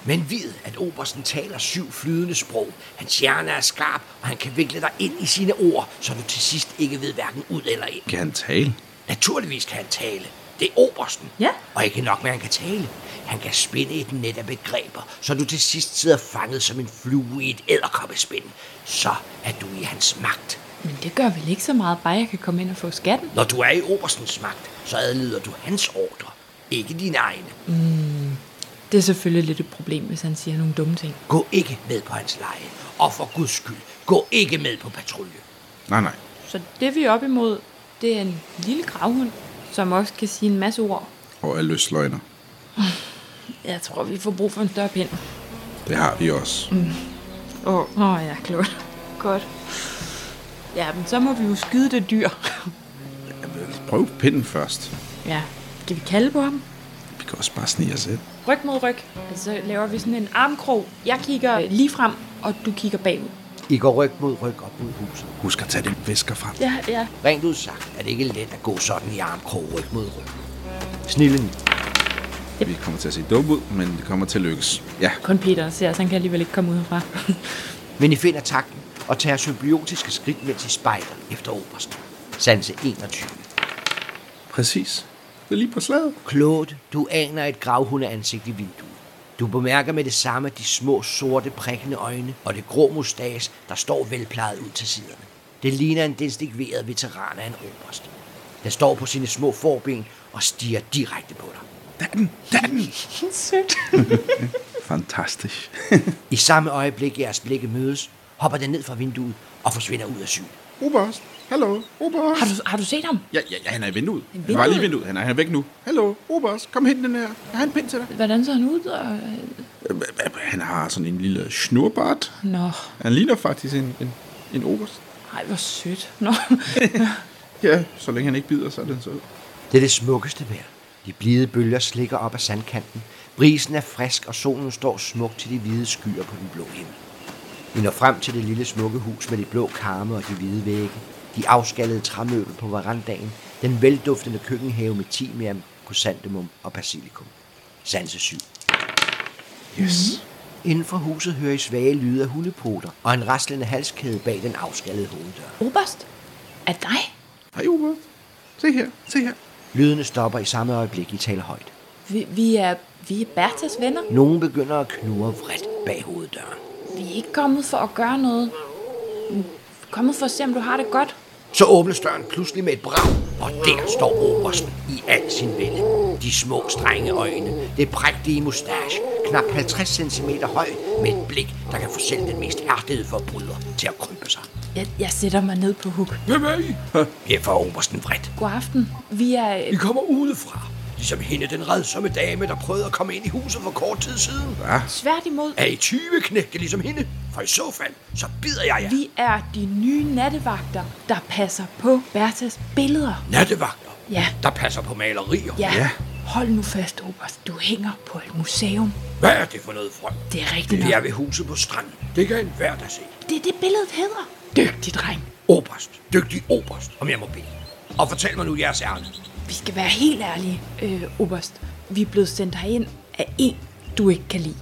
Speaker 1: Men vid, at Obersten taler syv flydende sprog. Hans hjerne er skarp, og han kan vikle dig ind i sine ord, så du til sidst ikke ved hverken ud eller ind.
Speaker 3: Kan han tale?
Speaker 1: Naturligvis kan han tale. Det er obersten.
Speaker 2: Ja.
Speaker 1: Og ikke nok med, at han kan tale. Han kan spinde et net af begreber, så du til sidst sidder fanget som en flue i et æderkoppespind. Så er du i hans magt.
Speaker 2: Men det gør vel ikke så meget, bare jeg kan komme ind og få skatten.
Speaker 1: Når du er i oberstens magt, så adlyder du hans ordre. Ikke dine egne.
Speaker 2: Det er selvfølgelig lidt et problem, hvis han siger nogle dumme ting.
Speaker 1: Gå ikke med på hans leje. Og for guds skyld, gå ikke med på patrulje.
Speaker 3: Nej, nej.
Speaker 2: Så det vi er op imod, det er en lille gravhund, som også kan sige en masse ord.
Speaker 3: Og er løsløgner.
Speaker 2: Jeg tror, vi får brug for en større pind.
Speaker 3: Det har vi også. Mm.
Speaker 2: Åh, oh, oh, ja, klogt. Godt. Ja, men så må vi jo skyde det dyr.
Speaker 3: Prøv pinden først.
Speaker 2: ja, skal vi kalde på ham?
Speaker 3: Vi kan også bare snige os ind.
Speaker 2: Ryg mod ryg. Altså, så laver vi sådan en armkrog. Jeg kigger øh, lige frem, og du kigger bagud.
Speaker 1: I går ryg mod ryg op mod huset.
Speaker 3: Husk at tage den væsker frem.
Speaker 2: Ja, ja.
Speaker 1: Rent udsagt er det ikke let at gå sådan i armkrog ryg mod ryg. Snillen,
Speaker 3: Vi kommer til at se dumme ud, men det kommer til at lykkes. Ja,
Speaker 2: Kun Peter ser, så han kan alligevel ikke komme ud herfra.
Speaker 1: Men I finder takten og tager symbiotiske skridt, mens I spejder efter obersten. Sanse 21.
Speaker 3: præcis. Det er lige på slaget.
Speaker 1: Claude, du aner et gravhundeansigt i vinduet. Du bemærker med det samme de små sorte prikkende øjne og det grå mustas, der står velplejet ud til siderne. Det ligner en destikveret veteran af en oberst. Den står på sine små forben og stiger direkte på dig.
Speaker 7: Der er den, der er den.
Speaker 4: Sødt.
Speaker 7: Fantastisk.
Speaker 1: I samme øjeblik jeres blikke mødes, hopper den ned fra vinduet og forsvinder ud af syn.
Speaker 3: Oberst, hallo, oberst.
Speaker 4: Har du, har du set ham?
Speaker 3: Ja, ja, ja, han er i vinduet. Han var lige i vinduet. Han er, han er væk nu. Hallo, oberst, kom hen den her. Jeg har en pind til dig.
Speaker 4: Hvordan så han ud? Og...
Speaker 3: Øh, øh, Han har sådan en lille snurbart.
Speaker 4: Nå,
Speaker 3: Han ligner faktisk en, en, en oberst.
Speaker 4: ej, hvor sødt. Nå.
Speaker 3: Ja, så længe han ikke bider, så er den sød.
Speaker 1: Det er det smukkeste vejr. De blide bølger slikker op ad sandkanten. Brisen er frisk, og solen står smukt til de hvide skyer på den blå himmel. Vi når frem til det lille smukke hus med de blå karme og de hvide vægge. De afskallede træmøbel på verandaen. Den velduftende køkkenhave med timian, krysantemum og basilikum. Sanse syg.
Speaker 3: Yes.
Speaker 4: Mhm.
Speaker 1: Inden for huset hører I svage lyde af hundepoter og en raslende halskæde bag den afskallede hoveddør.
Speaker 4: Oberst? Er det dig?
Speaker 3: Hej, oberst. Se her, se her.
Speaker 1: Lydene stopper i samme øjeblik, I taler højt.
Speaker 4: Vi, vi, er, vi er Bertas venner.
Speaker 1: Nogen begynder at knurre vredt bag hoveddøren.
Speaker 4: Vi er ikke kommet for at gøre noget. Vi er Kommet for at se, om du har det godt.
Speaker 1: Så åbnes døren pludselig med et brag, og der står obersten i al sin vælde. De små, strenge øjne, det prægtige mustache, knap 50 cm høj, med et blik, der kan få selv den mest hærdede forbryder til at krympe sig.
Speaker 4: Jeg, jeg sætter mig ned på huk.
Speaker 3: Hvem er I?
Speaker 1: Her får obersten vredt.
Speaker 4: God aften. Vi er... øh,
Speaker 1: Vi kommer udefra, ligesom hende den redsomme dame, der prøvede at komme ind i huset for kort tid siden.
Speaker 3: Hva?
Speaker 4: Svært imod.
Speaker 1: Er I 20 knægte ligesom hende? For i så fald, så bider jeg jer.
Speaker 4: Vi er de nye nattevagter, der passer på Bertas billeder.
Speaker 1: Nattevagter,
Speaker 4: Ja.
Speaker 1: der passer på malerier.
Speaker 4: Ja.
Speaker 3: Ja.
Speaker 4: Hold nu fast, Oberst. Du hænger på et museum.
Speaker 1: Hvad er det for noget frøm?
Speaker 4: Det er rigtigt
Speaker 1: Det er
Speaker 4: nok.
Speaker 1: ved huset på stranden. Det kan enhver, der se.
Speaker 4: Det er det, billedet hedder. Dygtig dreng.
Speaker 1: Oberst. Dygtig oberst, om jeg må bede. Og fortæl mig nu jeres ærne.
Speaker 4: Vi skal være helt ærlige, øh, Oberst. Vi er blevet sendt herind af en, du ikke kan lide.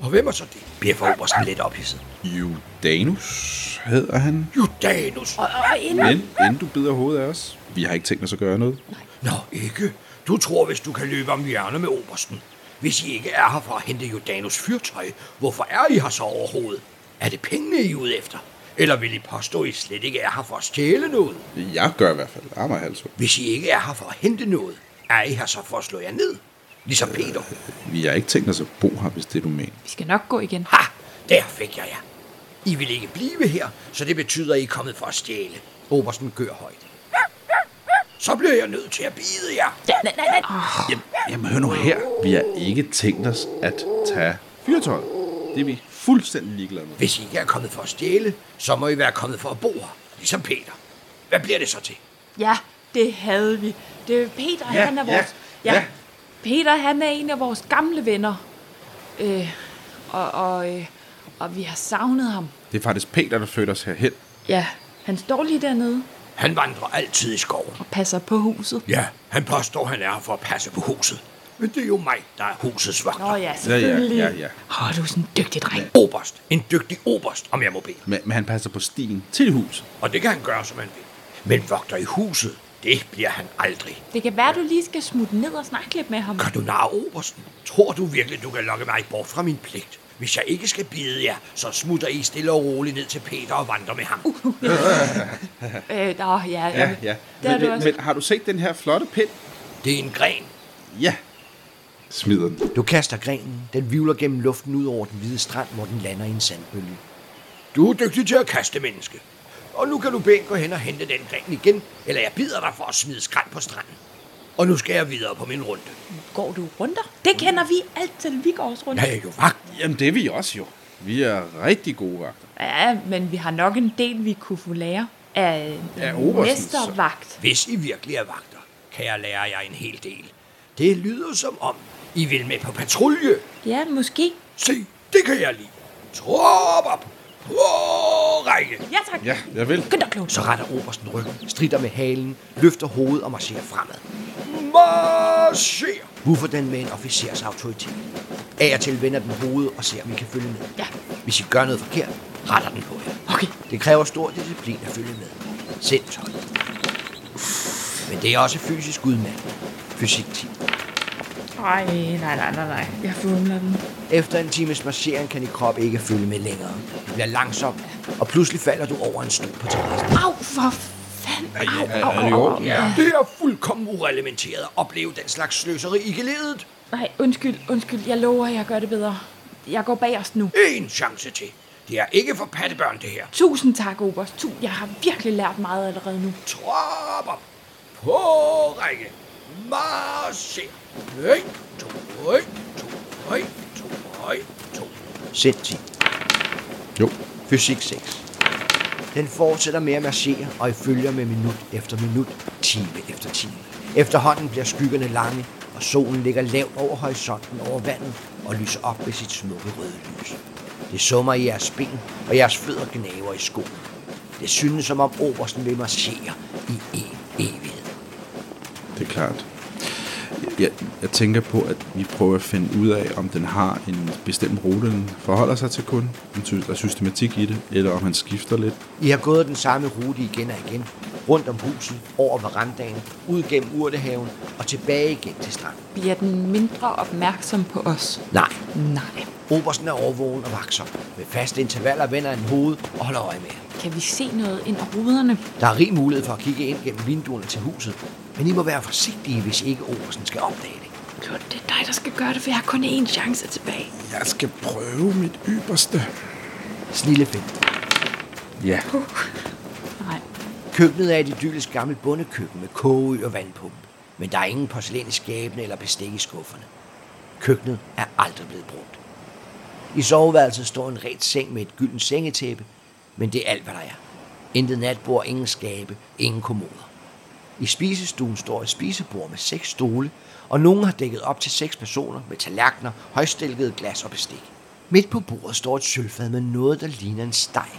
Speaker 1: Og hvem er så det? Bjeffer obersten lidt ophidset.
Speaker 3: Judanus hedder han.
Speaker 1: Judanus.
Speaker 4: Og, og inden...
Speaker 3: Men inden du bider hovedet af os, vi har ikke tænkt os at gøre noget.
Speaker 1: Nå, ikke. Du tror, hvis du kan løbe om hjørnet med obersten. Hvis I ikke er her for at hente Judanus fyrtøj, hvorfor er I her så overhovedet? Er det pengene, I er ude efter? Eller vil I påstå, at I slet ikke er her for at stjæle noget?
Speaker 3: Jeg gør i hvert fald. Armer halsud.
Speaker 1: Hvis I ikke er her for at hente noget, er I her så for at slå jer ned? Ligesom Peter.
Speaker 3: Vi har ikke tænkt os at bo her, hvis det er du mener.
Speaker 4: Vi skal nok gå igen.
Speaker 1: Ha! Der fik jeg jer. I vil ikke blive her, så det betyder, at I er kommet for at stjæle. Obersten gør højt. Så bliver jeg nødt til at bide jer.
Speaker 4: Nej, nej, nej.
Speaker 3: Jamen, jamen hør nu her. Vi har ikke tænkt os at tage fyrtøjet. Det er vi fuldstændig ligeglade med.
Speaker 1: Hvis I ikke er kommet for at stjæle, så må I være kommet for at bo her. Ligesom Peter. Hvad bliver det så til?
Speaker 4: Ja, det havde vi. Det er Peter, ja, han er
Speaker 3: ja,
Speaker 4: vores... Ja, ja. Peter, han er en af vores gamle venner. Øh, og, og, øh, og vi har savnet ham.
Speaker 3: Det er faktisk Peter, der flytter os herhen.
Speaker 4: Ja, han står lige dernede
Speaker 1: Han vandrer altid i skoven.
Speaker 4: og passer på huset.
Speaker 1: Ja, han påstår, han er her for at passe på huset. Men det er jo mig, der er husets vogter.
Speaker 4: Nå ja, selvfølgelig.
Speaker 3: ja, ja.
Speaker 4: Åh, du er sådan en dygtig dreng. Ja.
Speaker 1: Oberst. En dygtig oberst, om jeg må bede.
Speaker 3: Men, men han passer på stien til huset.
Speaker 1: Og det kan han gøre, som han vil. Men vogter i huset, det bliver han aldrig.
Speaker 4: Det kan være, du lige skal smutte ned og snakke lidt med ham.
Speaker 1: Gør du nar obersten? Tror du virkelig, du kan lokke mig bort fra min pligt? Hvis jeg ikke skal bide jer, så smutter I stille og roligt ned til Peter og vandrer med ham. Uh,
Speaker 4: Øh, nå, ja,
Speaker 3: Ja, ja.
Speaker 4: Der
Speaker 3: Men,
Speaker 4: er du
Speaker 3: men,
Speaker 4: også.
Speaker 3: men har du set den her flotte pind?
Speaker 1: det er en gren.
Speaker 3: Ja. Smider den.
Speaker 1: Du kaster grenen. Den vivler gennem luften ud over den hvide strand, hvor den lander i en sandbølge. Du er dygtig til at kaste, menneske. Og nu kan du bænke gå hen og hente den gren igen, eller jeg bider dig for at smide skrald på stranden. Og nu skal jeg videre på min runde.
Speaker 4: Går du runder? Det kender vi alt til Vigårds runde.
Speaker 1: Jeg er jo vagt.
Speaker 3: Jamen, det er vi også jo. Vi er rigtig gode vagter.
Speaker 4: Ja, men vi har nok en del, vi kunne få lære af
Speaker 3: Af obersten, så.
Speaker 4: mestervagt.
Speaker 1: Hvis I virkelig er vagter, kan jeg lære jer en hel del. Det lyder som om, I vil med på patrulje.
Speaker 4: Ja, måske.
Speaker 1: Se, det kan jeg lide. Trop op. På række.
Speaker 4: Ja, tak.
Speaker 3: Ja, jeg vil.
Speaker 4: Skynd dig, Claus.
Speaker 1: Så retter Obersten ryggen, strider med halen, løfter hovedet og marcherer fremad. Marcher! Hvorfor den med en officers autoritet? Af og til vender den hovedet og ser, om I kan følge med.
Speaker 4: Ja.
Speaker 1: Hvis I gør noget forkert, retter den på jer.
Speaker 4: Okay.
Speaker 1: Det kræver stor disciplin at følge med. Sindshold. Men det er også fysisk udmattende. Fysik 10.
Speaker 4: Ej, nej, nej, nej, nej. Jeg fumler den.
Speaker 1: Efter en times marchering kan din krop ikke følge med længere. Du bliver langsom, og pludselig falder du over en stol på terrassen.
Speaker 2: Au, for fanden. Au,
Speaker 3: Er,
Speaker 2: au,
Speaker 3: er det i
Speaker 2: au.
Speaker 3: orden?
Speaker 1: Ja. Det er fuldkommen urelementeret at opleve den slags sløseri i geledet.
Speaker 2: Nej, undskyld, undskyld. Jeg lover, jeg gør det bedre. Jeg går bagerst nu.
Speaker 1: En chance til. Det er ikke for pattebørn, det her.
Speaker 2: Tusind tak, Oberst. Tu, jeg har virkelig lært meget allerede nu.
Speaker 1: Tropper. På række. Marcher. Høj, to, høj, to, høj, to, høj, to. Sæt 10.
Speaker 3: Jo.
Speaker 1: Fysik 6. Den fortsætter med at marchere, og I følger med minut efter minut, time efter time. Efterhånden bliver skyggerne lange, og solen ligger lavt over horisonten over vandet og lyser op med sit smukke røde lys. Det summer i jeres ben, og jeres fødder gnaver i skoen. Det synes, som om obersten vil marchere i en evighed.
Speaker 3: Det er klart. Jeg, jeg tænker på, at vi prøver at finde ud af, om den har en bestemt rute, den forholder sig til kun, om sy- der er systematik i det, eller om han skifter lidt.
Speaker 1: I har gået den samme rute igen og igen. Rundt om huset, over verandaen, ud gennem urtehaven og tilbage igen til stranden.
Speaker 2: Bliver den mindre opmærksom på os?
Speaker 1: Nej,
Speaker 2: Nej.
Speaker 1: Obersten er overvågen og vakser. Med faste intervaller vender han hovedet og holder øje med ham.
Speaker 2: Kan vi se noget ind over ruderne?
Speaker 1: Der er rig mulighed for at kigge ind gennem vinduerne til huset, men I må være forsigtige, hvis ikke Obersten skal opdage det.
Speaker 2: Gud, det er dig, der skal gøre det, for jeg har kun én chance tilbage.
Speaker 3: Jeg skal prøve mit ypperste.
Speaker 1: Snille fem.
Speaker 3: Ja.
Speaker 2: Nej.
Speaker 1: Køkkenet er et idyllisk gammelt bondekøkken med kogeø og vandpumpe, men der er ingen porcelæn i skabene eller bestik i skufferne. Køkkenet er aldrig blevet brugt. I soveværelset står en ret seng med et gyldent sengetæppe, men det er alt, hvad der er. Intet natbord, ingen skabe, ingen kommoder. I spisestuen står et spisebord med seks stole, og nogen har dækket op til seks personer med tallerkener, højstilkede glas og bestik. Midt på bordet står et sølvfad med noget, der ligner en steg.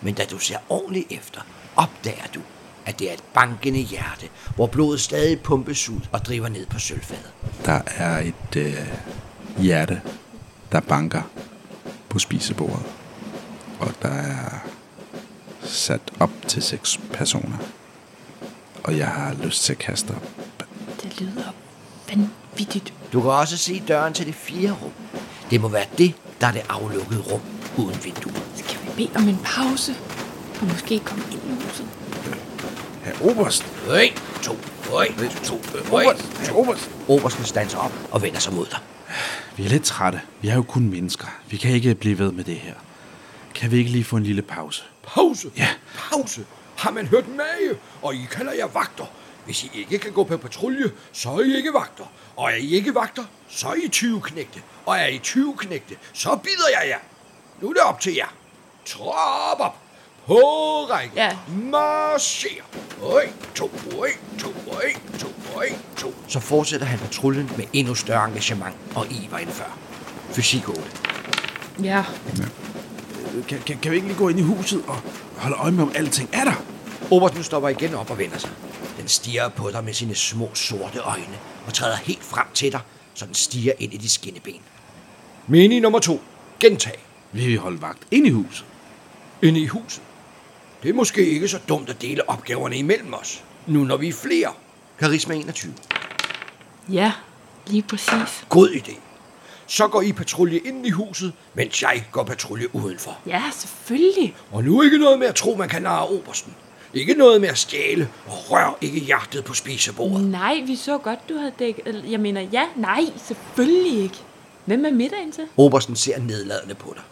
Speaker 1: Men da du ser ordentligt efter, opdager du, at det er et bankende hjerte, hvor blodet stadig pumpes ud og driver ned på sølvfadet.
Speaker 3: Der er et øh, hjerte, der banker på spisebordet. Og der er sat op til seks personer. Og jeg har lyst til at kaste op.
Speaker 2: Det lyder vanvittigt.
Speaker 1: Du kan også se døren til det fjerde rum. Det må være det, der er det aflukkede rum uden vinduer.
Speaker 2: Skal vi bede om en pause? Og måske komme ind i huset?
Speaker 3: Herr Oberst!
Speaker 1: Høj, to, høj, to, høj.
Speaker 3: Herr Oberst!
Speaker 1: Obersten standser op og vender sig mod dig.
Speaker 3: Vi er lidt trætte. Vi er jo kun mennesker. Vi kan ikke blive ved med det her. Kan vi ikke lige få en lille pause?
Speaker 4: Pause?
Speaker 3: Ja.
Speaker 4: Pause? Har man hørt mage? Og I kalder jer vagter. Hvis I ikke kan gå på patrulje, så er I ikke vagter. Og er I ikke vagter, så er I 20 knægte. Og er I 20 knægte, så bider jeg jer. Nu er det op til jer. Trop op. På række.
Speaker 2: Ja.
Speaker 4: Marcher. Øj, to, øj, to, øj, to, øj, to.
Speaker 1: Så fortsætter han patruljen med endnu større engagement og iver end før. Fysik 8.
Speaker 2: Ja.
Speaker 3: Kan, kan, kan vi ikke lige gå ind i huset og holde øje med, om alting er der?
Speaker 1: Obersten stopper igen op og vender sig. Den stiger på dig med sine små sorte øjne og træder helt frem til dig, så den stiger ind i dit skinneben.
Speaker 4: Mini nummer to. Gentag.
Speaker 3: Vi vil holde vagt ind i huset.
Speaker 4: Inde i huset. Det er måske ikke så dumt at dele opgaverne imellem os. Nu når vi er flere.
Speaker 1: Karisma 21.
Speaker 2: Ja, lige præcis.
Speaker 4: God idé. Så går I patrulje ind i huset, mens jeg går patrulje udenfor.
Speaker 2: Ja, selvfølgelig.
Speaker 4: Og nu ikke noget med at tro, man kan narre obersten. Ikke noget med at stjæle og rør ikke hjertet på spisebordet.
Speaker 2: Nej, vi så godt, du havde dækket. eller, Jeg mener, ja, nej, selvfølgelig ikke. Hvem er middagen til?
Speaker 1: Obersten ser nedladende på dig.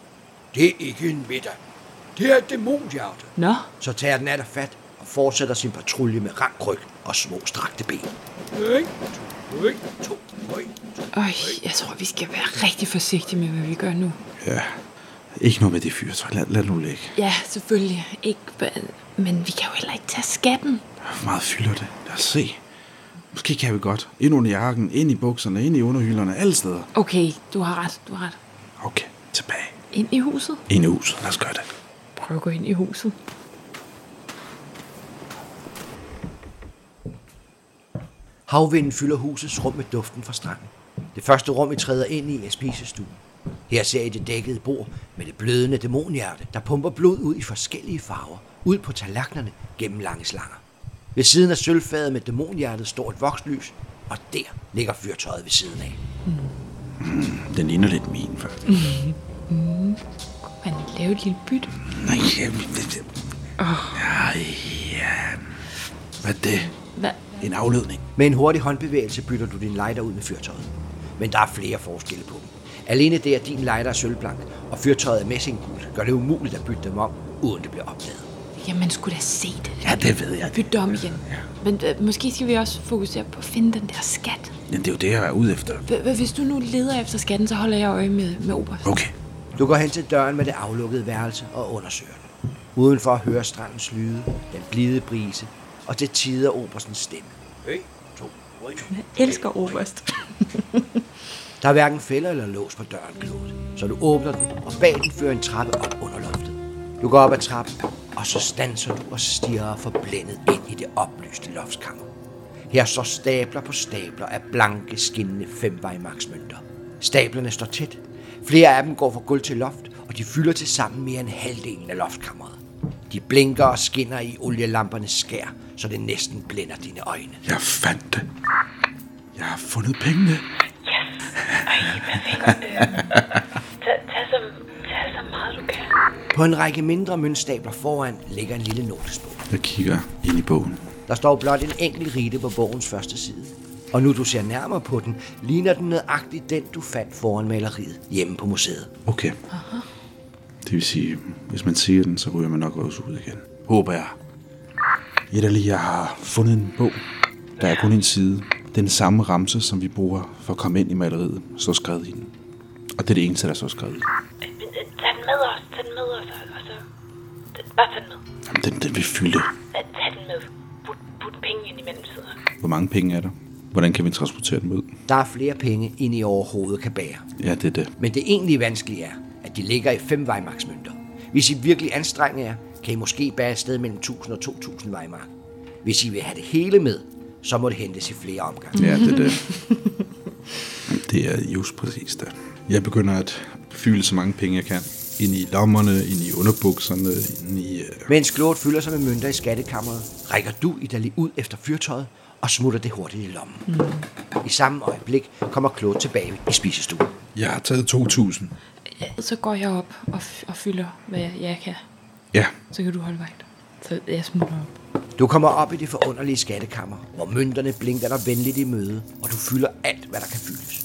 Speaker 4: Det er ikke en middag. Det er et dæmonhjerte.
Speaker 2: Nå,
Speaker 1: Så tager den af dig fat og fortsætter sin patrulje med rank ryg og små strakte ben.
Speaker 4: Øj, to, øj, to, øj, to.
Speaker 2: Øj, jeg tror, vi skal være rigtig forsigtige med, hvad vi gør nu.
Speaker 3: Ja. Ikke noget med det fyrtøj. Lad, lad nu ligge.
Speaker 2: Ja, selvfølgelig. Ikke, men vi kan jo heller ikke tage skatten.
Speaker 3: Hvor meget fylder det? Lad os se. Måske kan vi godt. Ind under jakken, ind i bukserne, ind i underhylderne, alle steder.
Speaker 2: Okay, du har ret, du har ret.
Speaker 3: Okay, tilbage.
Speaker 2: Ind i huset.
Speaker 3: Ind i huset. Lad os gøre det.
Speaker 2: Prøv at gå ind i huset.
Speaker 1: Havvinden fylder husets rum med duften fra stranden. Det første rum, I træder ind i, er spisestuen. Her ser I det dækkede bord med det blødende dæmonhjerte, der pumper blod ud i forskellige farver, ud på tallerkenerne gennem lange slanger. Ved siden af sølvfadet med dæmonhjertet står et vokslys, og der ligger fyrtøjet ved siden af.
Speaker 3: Den ligner lidt min, faktisk.
Speaker 2: Man lave et lille byt.
Speaker 3: Nej, jamen, det, det. Ej, ja. Hvad er det?
Speaker 2: Hvad?
Speaker 3: En afledning.
Speaker 1: Med en hurtig håndbevægelse bytter du din lighter ud med fyrtøjet. Men der er flere forskelle på dem. Alene det, at din lighter er sølvblank, og fyrtøjet er messinggult, gør det umuligt at bytte dem om, uden det bliver opdaget.
Speaker 2: Jamen, skulle da se det.
Speaker 3: Ja, det ved jeg.
Speaker 2: Bytte det om igen. Men øh, måske skal vi også fokusere på at finde den der skat.
Speaker 3: Men det er jo det, jeg er ude efter.
Speaker 2: H- h- Hvis du nu leder efter skatten, så holder jeg øje med, med Obers.
Speaker 3: Okay.
Speaker 1: Du går hen til døren med det aflukkede værelse og undersøger den. Udenfor hører strandens lyde, den blide brise og til tider obersens stemme.
Speaker 2: Jeg elsker Oberst.
Speaker 1: Der er hverken fælder eller lås på døren, Claude. Så du åbner den, og bag den fører en trappe op under loftet. Du går op ad trappen, og så standser du og stiger forblændet ind i det oplyste loftskammer. Her står stabler på stabler af blanke, skinnende femvejmaksmønter. Stablerne står tæt. Flere af dem går fra gulv til loft, og de fylder til sammen mere end halvdelen af loftkammeret. De blinker og skinner i olielampernes skær, så det næsten blænder dine øjne.
Speaker 3: Jeg fandt det. Jeg har fundet pengene.
Speaker 8: Tag, tag, så, tag så meget du kan.
Speaker 1: På en række mindre møntstabler foran ligger en lille notesbog.
Speaker 3: Jeg kigger ind i bogen.
Speaker 1: Der står blot en enkelt rite på bogens første side. Og nu du ser nærmere på den, ligner den nøjagtigt den, du fandt foran maleriet hjemme på museet.
Speaker 3: Okay. Det vil sige, hvis man siger den, så ryger man nok også ud igen. Håber jeg. Et af lige, jeg har fundet en bog. Der er kun en side. Den samme ramse, som vi bruger for at komme ind i maleriet, står skrevet i den. Og det er det eneste, der står skrevet i den.
Speaker 8: Øh, Tag den med os, tag den med os, og- og så... det- Bare tag den med.
Speaker 3: Jamen, den, den vil fylde.
Speaker 8: Øh, Tag den med. Put, put penge ind i mellemtiden.
Speaker 3: Hvor mange penge er der? Hvordan kan vi transportere dem ud?
Speaker 1: Der er flere penge, end I overhovedet kan bære.
Speaker 3: Ja, det er det.
Speaker 1: Men det egentlig vanskelige er, at de ligger i fem vejmarksmønter. Hvis I virkelig anstrenger jer, kan I måske bære afsted mellem 1000 og 2000 vejmark. Hvis I vil have det hele med, så må det hentes i flere omgange.
Speaker 3: Ja, det er det. Det er just præcis det. Jeg begynder at fylde så mange penge, jeg kan. Ind i lommerne, ind i underbukserne, ind i... Øh...
Speaker 1: Mens Claude fylder sig med mønter i skattekammeret, rækker du i lige ud efter fyrtøjet og smutter det hurtigt i lommen. Mm. I samme øjeblik kommer Claude tilbage i spisestuen.
Speaker 3: Jeg har taget 2.000.
Speaker 2: Så går jeg op og, f- og fylder, hvad jeg, jeg kan.
Speaker 3: Ja,
Speaker 2: Så kan du holde vagt. Så jeg smutter op.
Speaker 1: Du kommer op i det forunderlige skattekammer, hvor mønterne blinker dig venligt i møde, og du fylder alt, hvad der kan fyldes.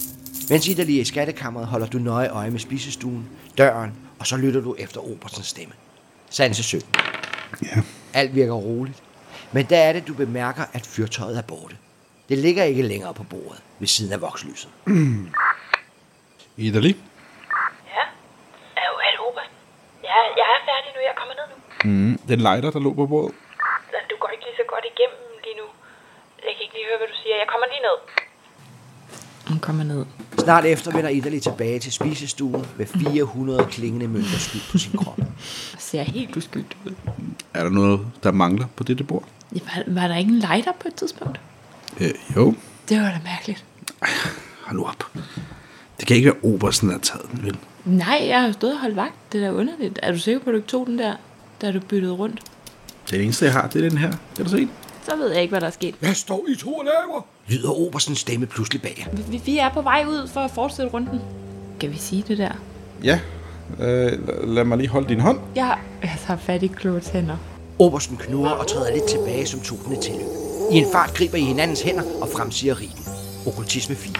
Speaker 1: Mens I der lige er i skattekammeret, holder du nøje øje med spisestuen, døren, og så lytter du efter Obersens stemme. Sanse 17.
Speaker 3: ja.
Speaker 1: Alt virker roligt. Men der er det, du bemærker, at fyrtøjet er borte. Det ligger ikke længere på bordet ved siden af vokslyset.
Speaker 3: Idali?
Speaker 8: Ja? Er du, er du Oberst? Ja, jeg er færdig nu. Jeg kommer ned nu.
Speaker 3: Mm. Den lighter, der lå på bordet?
Speaker 8: Så Du går ikke lige så godt igennem lige nu. Jeg kan ikke lige høre, hvad du siger. Jeg kommer lige ned.
Speaker 2: Hun kommer ned.
Speaker 1: Snart efter vender Idali tilbage til spisestuen med 400 klingende mønter skudt på sin krop.
Speaker 2: Og ser helt uskyldig ud.
Speaker 3: Er der noget, der mangler på dette bord?
Speaker 2: Ja, var, var der ikke en lighter på et tidspunkt?
Speaker 3: Øh, jo.
Speaker 2: Det var da mærkeligt.
Speaker 3: Hold nu op. Det kan ikke være Obersten, der har taget den, vel?
Speaker 2: Nej, jeg har jo stået og holdt vagt. Det er da underligt. Er du sikker på, at du ikke tog den der, da du byttede rundt?
Speaker 3: Det eneste, jeg har, det er den her. Kan du se?
Speaker 2: Så ved jeg ikke, hvad der er sket.
Speaker 5: Jeg står i to laver.
Speaker 1: Lyder Obersens stemme pludselig bag jer.
Speaker 2: Vi, vi er på vej ud for at fortsætte runden. Kan vi sige det der?
Speaker 9: Ja, øh, la- lad mig lige holde din hånd.
Speaker 2: Jeg har, jeg tager fat i Claudes hænder.
Speaker 1: Obersten knurrer og træder lidt tilbage som tokende til. I en fart griber I hinandens hænder og fremsiger rigen. Okkultisme 4.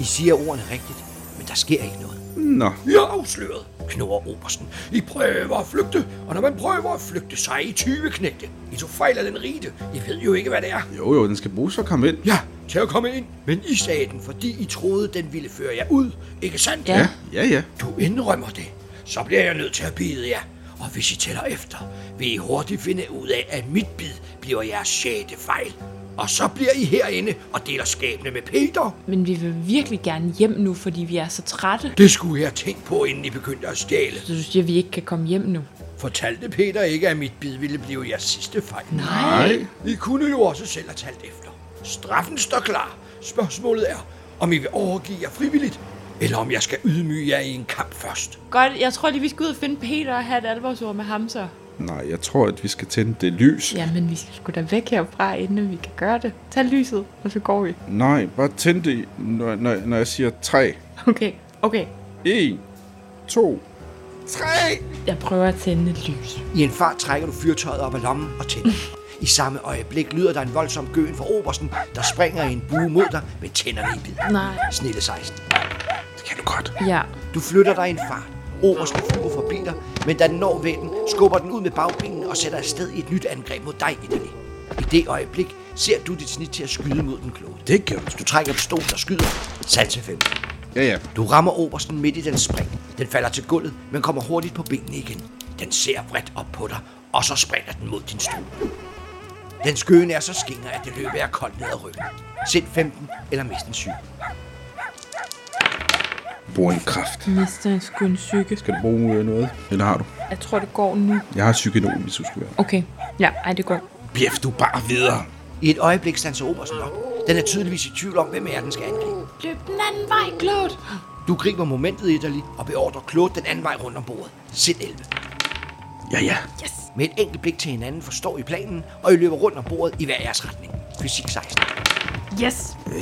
Speaker 1: I siger ordene rigtigt, men der sker ikke noget.
Speaker 9: Nå,
Speaker 5: I er afsløret.
Speaker 1: Knurrer Obersten.
Speaker 5: I prøver at flygte, og når man prøver at flygte, så er I 20 knægte. I tog fejl af den rite. I ved jo ikke, hvad det er.
Speaker 9: jo jo, den skal bruges for at komme ind.
Speaker 5: Ja, til at komme ind. Men I sagde den, fordi I troede, den ville føre jer ud. Ikke sandt?
Speaker 2: Ja.
Speaker 9: ja, ja.
Speaker 5: Du indrømmer det. Så bliver jeg nødt til at bide jer. Og hvis I tæller efter, vil I hurtigt finde ud af, at mit bid bliver jeres sjette fejl. Og så bliver I herinde og deler skæbne med Peter.
Speaker 2: Men vi vil virkelig gerne hjem nu, fordi vi er så trætte.
Speaker 5: Det skulle I have tænkt på, inden I begyndte at stjæle.
Speaker 2: Så du siger, at vi ikke kan komme hjem nu?
Speaker 5: Fortalte Peter ikke, at mit bid ville blive jeres sidste fejl?
Speaker 2: Nej.
Speaker 5: I kunne jo også selv have talt efter. Straffen står klar. Spørgsmålet er, om I vil overgive jer frivilligt, eller om jeg skal ydmyge jer i en kamp først.
Speaker 2: Godt, jeg tror lige, vi skal ud og finde Peter og have et alvorsord med ham så.
Speaker 9: Nej, jeg tror, at vi skal tænde det lys.
Speaker 2: Jamen, vi skal sgu da væk herfra, inden vi kan gøre det. Tag lyset, og så går vi.
Speaker 9: Nej, bare tænd det, når, når, når jeg siger tre.
Speaker 2: Okay, okay.
Speaker 9: En, to,
Speaker 2: Jeg prøver at tænde et lys.
Speaker 1: I en fart trækker du fyrtøjet op af lommen og tænder. I samme øjeblik lyder der en voldsom gøen fra obersten, der springer i en bue mod dig med tænderne i bid.
Speaker 2: Nej.
Speaker 1: Snille 16.
Speaker 9: det kan du godt.
Speaker 2: Ja.
Speaker 1: Du flytter dig i en fart. Obersten flyver forbi dig, men da den når væggen, skubber den ud med bagbenene og sætter afsted i et nyt angreb mod dig, Italy. I det øjeblik ser du dit snit til at skyde mod den kloge.
Speaker 9: Det kan du.
Speaker 1: Du trækker pistolen og skyder. Salse 5.
Speaker 9: Ja, ja.
Speaker 1: Du rammer obersten midt i den spring. Den falder til gulvet, men kommer hurtigt på benene igen. Den ser bredt op på dig, og så springer den mod din stue. Den skøen er så skinger, at det løber er koldt ned ad ryggen. Sæt 15 eller mist en syg.
Speaker 9: Brug en kraft.
Speaker 2: Mister en sgu en psyke.
Speaker 9: Skal du bruge øh, noget? Eller har du?
Speaker 2: Jeg tror, det går nu.
Speaker 9: Jeg har psykonom, hvis du skal være.
Speaker 2: Okay. Ja, ej, det går.
Speaker 9: Bjef, du bare videre.
Speaker 1: I et øjeblik standser obersten op. Den er tydeligvis i tvivl om, hvem er den skal angribe.
Speaker 2: Løb den anden vej, Claude.
Speaker 1: Du griber momentet, Italy, og beordrer Claude den anden vej rundt om bordet. Sæt 11.
Speaker 9: Ja, ja.
Speaker 1: Med et enkelt blik til hinanden forstår I planen, og I løber rundt om bordet i hver jeres retning. Fysik 16.
Speaker 2: Yes.
Speaker 9: Øh,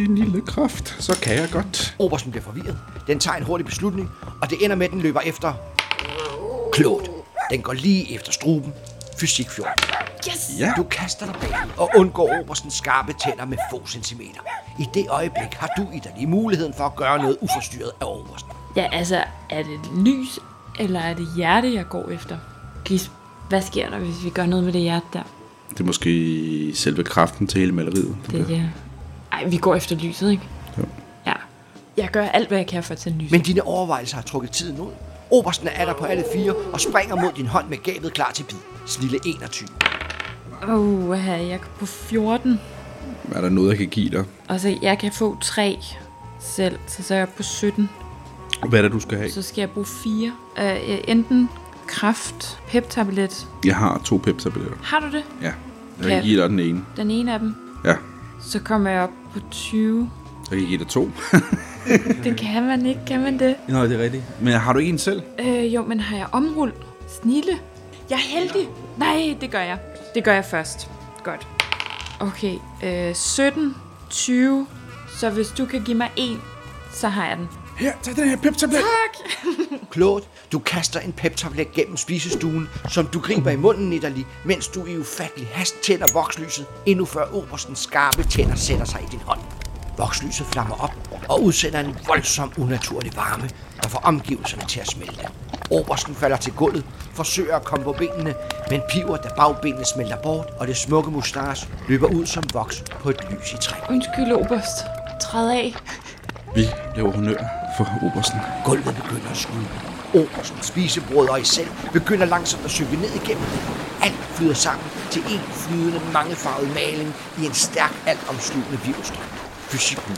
Speaker 9: en lille kraft. Så kan jeg godt.
Speaker 1: Obersten bliver forvirret. Den tager en hurtig beslutning, og det ender med, at den løber efter... Klogt. Den går lige efter struben. Fysik 14.
Speaker 9: Ja.
Speaker 1: Du kaster dig bagud og undgår Oberstens skarpe tænder med få centimeter. I det øjeblik har du i dig lige muligheden for at gøre noget uforstyrret af Obersten.
Speaker 2: Ja, altså, er det lys, eller er det hjerte, jeg går efter? Gis, hvad sker der, hvis vi gør noget med det hjerte der?
Speaker 9: Det er måske selve kraften til hele maleriet.
Speaker 2: Det er... Ej, vi går efter lyset, ikke?
Speaker 9: Jo.
Speaker 2: Ja. Jeg gør alt, hvad jeg kan for at tænde lyset.
Speaker 1: Men dine overvejelser har trukket tiden ud. Obersten er der på alle fire og springer mod din hånd med gabet klar til bid. Snille 21.
Speaker 2: Åh, oh, jeg er på 14.
Speaker 9: Er der noget, jeg kan give dig?
Speaker 2: Og så jeg kan få 3 selv, så så er jeg på 17.
Speaker 9: Hvad er det, du skal have?
Speaker 2: Så skal jeg bruge 4. Uh, enten kraft, pep-tablet.
Speaker 9: Jeg har to pepsi-billetter.
Speaker 2: Har du det?
Speaker 9: Ja. Jeg
Speaker 2: Kan-
Speaker 9: kan give dig den ene.
Speaker 2: Den ene af dem.
Speaker 9: Ja.
Speaker 2: Så kommer jeg op på 20.
Speaker 9: Jeg kan give dig to.
Speaker 2: Det kan man ikke, kan man det?
Speaker 9: Nej, det er rigtigt. Men har du ikke en selv?
Speaker 2: Øh, jo, men har jeg omrul? Snille? Jeg er heldig. Nej, det gør jeg. Det gør jeg først. Godt. Okay, øh, 17, 20. Så hvis du kan give mig en, så har jeg den.
Speaker 9: Her, tag den her pepsi-billet.
Speaker 1: Klogt, du kaster en peptablet gennem spisestuen, som du griber i munden, Nidali, mens du i ufattelig hast tænder vokslyset, endnu før Oberstens skarpe tænder sætter sig i din hånd. Vokslyset flammer op og udsender en voldsom, unaturlig varme, der får omgivelserne til at smelte. Obersten falder til gulvet, forsøger at komme på benene, men piver, da bagbenene smelter bort, og det smukke mustache løber ud som voks på et lys i træ.
Speaker 2: Undskyld, Oberst. Træd af.
Speaker 9: Vi laver honør for Obersten.
Speaker 1: Gulvet begynder at skyde. Obersen, spisebrød og I selv begynder langsomt at synke ned igennem. Alt flyder sammen til en flydende, mangefarvet maling i en stærk, altomsluttende virvelstrøm. Fysik nu.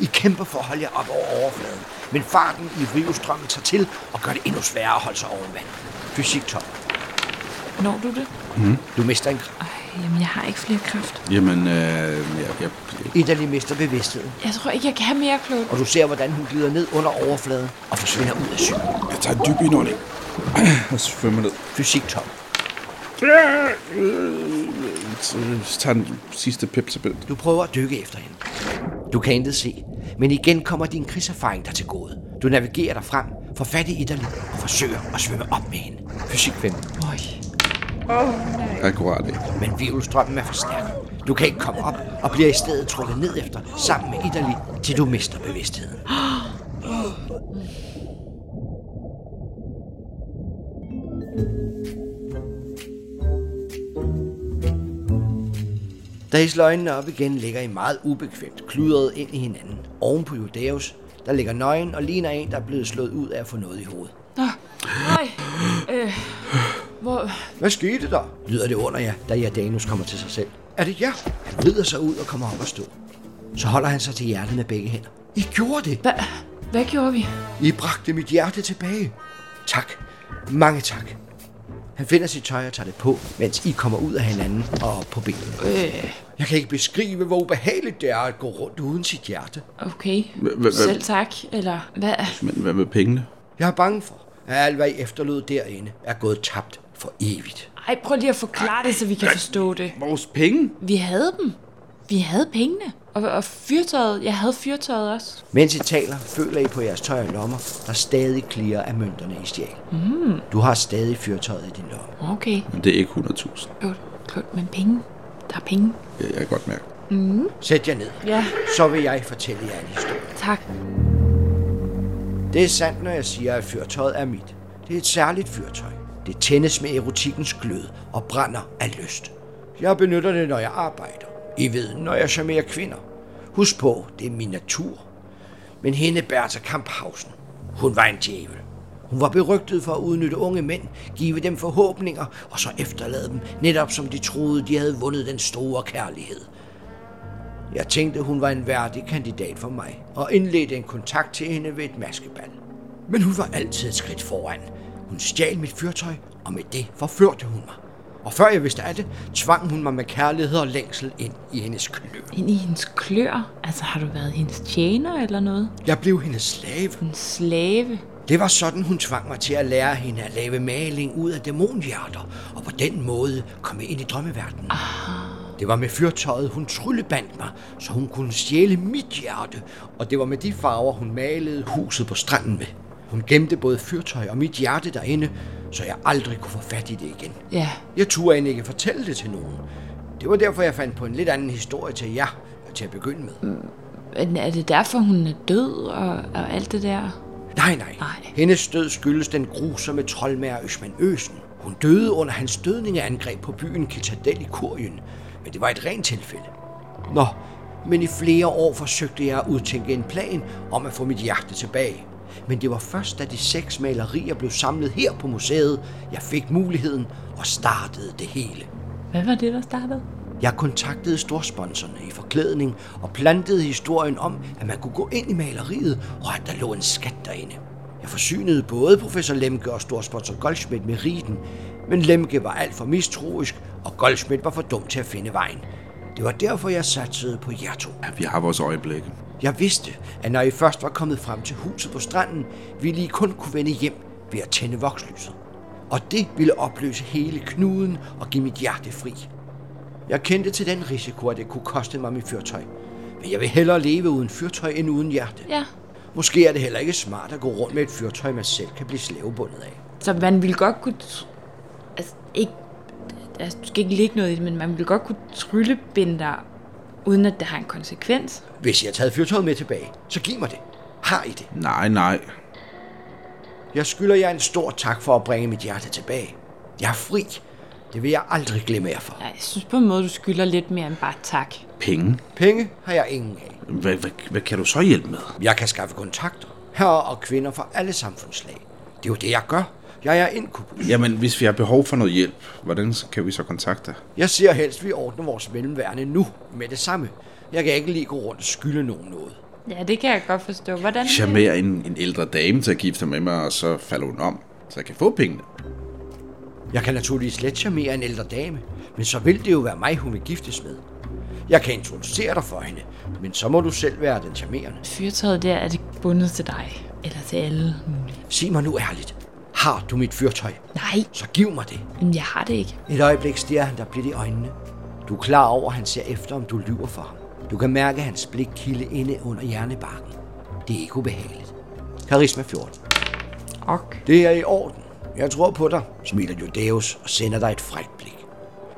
Speaker 1: I kæmper for at holde jer op over overfladen, men farten i virvelstrømmen tager til og gør det endnu sværere at holde sig oven vand. Fysik 12.
Speaker 2: Når du det?
Speaker 1: Du mister en kraft.
Speaker 2: Ej, jamen, jeg har ikke flere kraft.
Speaker 9: Jamen, øh, ja, ja,
Speaker 1: Italy mister bevidstheden,
Speaker 2: Jeg tror ikke, jeg kan mere, Claude.
Speaker 1: og du ser, hvordan hun glider ned under overfladen og forsvinder ud af syn.
Speaker 9: jeg tager en dyb indånding. Og så svømmer ned.
Speaker 1: Fysik 12.
Speaker 9: Så så tager den sidste pepsi-billet.
Speaker 1: Du prøver at dykke efter hende. Du kan intet se, men igen kommer din krigserfaring dig til gode. Du navigerer dig frem, får fat i Italy og forsøger at svømme op med hende. Fysik 5.
Speaker 2: Øj.
Speaker 9: Akkurat ikke.
Speaker 1: Men virvelstrømmen er for stærk. Du kan ikke komme op og bliver i stedet trukket ned efter sammen med Italy, til du mister bevidstheden. Da I slår øjnene op igen, ligger I meget ubekvemt kludret ind i hinanden. Oven på Judeus, der ligger nøgen og ligner en, der er blevet slået ud af at få noget i hovedet.
Speaker 2: Øj. Øh. Hvor...
Speaker 1: Hvad skete der? lyder det under jer, da Jordanus kommer til sig selv. Er det jer? Han vrider sig ud og kommer op og stå. Så holder han sig til hjertet med begge hænder. I gjorde det!
Speaker 2: Hva... Hvad gjorde vi?
Speaker 1: I bragte mit hjerte tilbage. Tak. Mange tak. Han finder sit tøj og tager det på, mens I kommer ud af hinanden og op på benene.
Speaker 2: Øh.
Speaker 1: Jeg kan ikke beskrive, hvor ubehageligt det er at gå rundt uden sit hjerte.
Speaker 2: Okay.
Speaker 9: hva- hva-
Speaker 2: Selv tak. Eller hvad?
Speaker 9: Men hvad med pengene?
Speaker 1: Jeg er bange for, Alt, hvad I efterlod derinde, er gået tabt for evigt.
Speaker 2: Ej, prøv lige at forklare det, så vi kan forstå det.
Speaker 10: Vores penge?
Speaker 2: Vi havde dem. Vi havde pengene. Og, og fyrtøjet. Jeg havde fyrtøjet også.
Speaker 1: Mens I taler, føler I på jeres tøj og lommer, der stadig klirer af mønterne i stjæl. Mm. Du har stadig fyrtøjet i din lomme.
Speaker 2: Okay.
Speaker 9: Men det er ikke 100.000.
Speaker 2: Klogt. Klogt. Men penge. Der er penge.
Speaker 9: Ja, jeg kan godt mærke.
Speaker 1: Sæt jer ned.
Speaker 2: Ja.
Speaker 1: Så vil jeg fortælle jer en historie.
Speaker 2: Tak.
Speaker 1: Det er sandt, når jeg siger, at fyrtøjet er mit. Det er et særligt fyrtøj. Det tændes med erotikkens glød og brænder af lyst. Jeg benytter det, når jeg arbejder. I ved, når jeg charmerer kvinder. Husk på, det er min natur. Men hende Bertha Kamphausen, hun var en djævel. Hun var berygtet for at udnytte unge mænd, give dem forhåbninger, og så efterlade dem, netop som de troede, de havde vundet den store kærlighed. Jeg tænkte, hun var en værdig kandidat for mig, og indledte en kontakt til hende ved et maskeband. Men hun var altid et skridt foran. Hun stjal mit fyrtøj, og med det forførte hun mig. Og før jeg vidste af det, tvang hun mig med kærlighed og længsel ind i hendes klø.
Speaker 2: Ind i hendes klør. Altså, har du været hendes tjener eller noget?
Speaker 1: Jeg blev hendes slave.
Speaker 2: En slave.
Speaker 1: Det var sådan, hun tvang mig til at lære hende at lave maling ud af dæmonhjerter, og på den måde komme ind i drømmeverdenen. Det var med fyrtøjet, hun tryllebandt mig, så hun kunne stjæle mit hjerte, og det var med de farver, hun malede huset på stranden med. Hun gemte både fyrtøj og mit hjerte derinde, så jeg aldrig kunne få fat i det igen.
Speaker 2: Ja.
Speaker 1: Jeg turde end ikke fortælle det til nogen. Det var derfor, jeg fandt på en lidt anden historie til jer til at begynde med.
Speaker 2: Men er det derfor, hun er død og, og alt det der?
Speaker 1: Nej, nej.
Speaker 2: Nej.
Speaker 1: Hendes død skyldes den grusomme troldmager Øsman Øsen. Hun døde under hans dødningeangreb på byen Kitadel i Kurien. Men det var et rent tilfælde. Nå, men i flere år forsøgte jeg at udtænke en plan om at få mit hjerte tilbage. Men det var først, da de seks malerier blev samlet her på museet, jeg fik muligheden og startede det hele.
Speaker 2: Hvad var det, der startede?
Speaker 1: Jeg kontaktede storsponsorerne i forklædning og plantede historien om, at man kunne gå ind i maleriet, og at der lå en skat derinde. Jeg forsynede både professor Lemke og storsponsor Goldschmidt med riten, men Lemke var alt for mistroisk, og Goldschmidt var for dum til at finde vejen. Det var derfor, jeg satsede på jer to.
Speaker 9: Ja, vi har vores øjeblikke.
Speaker 1: Jeg vidste, at når I først var kommet frem til huset på stranden, ville I kun kunne vende hjem ved at tænde vokslyset. Og det ville opløse hele knuden og give mit hjerte fri. Jeg kendte til den risiko, at det kunne koste mig mit fyrtøj. Men jeg vil hellere leve uden fyrtøj end uden hjerte.
Speaker 2: Ja.
Speaker 1: Måske er det heller ikke smart at gå rundt med et fyrtøj, man selv kan blive slavebundet af.
Speaker 2: Så man ville godt kunne... tr- Altså, ikke... Altså, du skal ikke ligge noget i det, men man ville godt kunne tryllebinde dig, uden at det har en konsekvens.
Speaker 1: Hvis jeg har taget fyrtøjet med tilbage, så giv mig det. Har I det?
Speaker 9: Nej, nej.
Speaker 1: Jeg skylder jer en stor tak for at bringe mit hjerte tilbage. Jeg er fri. Det vil jeg aldrig glemme jer for.
Speaker 2: Ja, Jeg synes på en måde, du skylder lidt mere end bare tak.
Speaker 9: Penge?
Speaker 1: Penge har jeg ingen af.
Speaker 9: Hvad, hvad, hvad kan du så hjælpe med?
Speaker 1: Jeg kan skaffe kontakter. Herrer og kvinder fra alle samfundslag. Det er jo det, jeg gør. Jeg er inkubus.
Speaker 9: Jamen, hvis vi har behov for noget hjælp, hvordan kan vi så kontakte dig?
Speaker 1: Jeg ser helst, at vi ordner vores mellemværende nu med det samme. Jeg kan ikke lige gå rundt og skylde nogen noget.
Speaker 2: Ja, det kan jeg godt forstå. Hvordan...
Speaker 9: Charmere en, en ældre dame til at gifte sig med mig, og så falder hun om, så jeg kan få pengene.
Speaker 1: Jeg kan naturligvis slet charmere en ældre dame, men så vil det jo være mig, hun vil giftes med. Jeg kan introducere dig for hende, men så må du selv være den charmerende.
Speaker 2: Fyrtøjet der, er det bundet til dig? Eller til alle mulige?
Speaker 1: Sig mig nu ærligt. Har du mit fyrtøj?
Speaker 2: Nej,
Speaker 1: Så giv mig det.
Speaker 2: men jeg har det ikke.
Speaker 1: Et øjeblik stiger han dig blidt i øjnene. Du er klar over, at han ser efter, om du lyver for ham. Du kan mærke hans blik kilde inde under hjernebarken. Det er ikke ubehageligt. Karisma 14.
Speaker 2: Ok.
Speaker 1: Det er i orden. Jeg tror på dig, smiler Judeus og sender dig et frækt blik.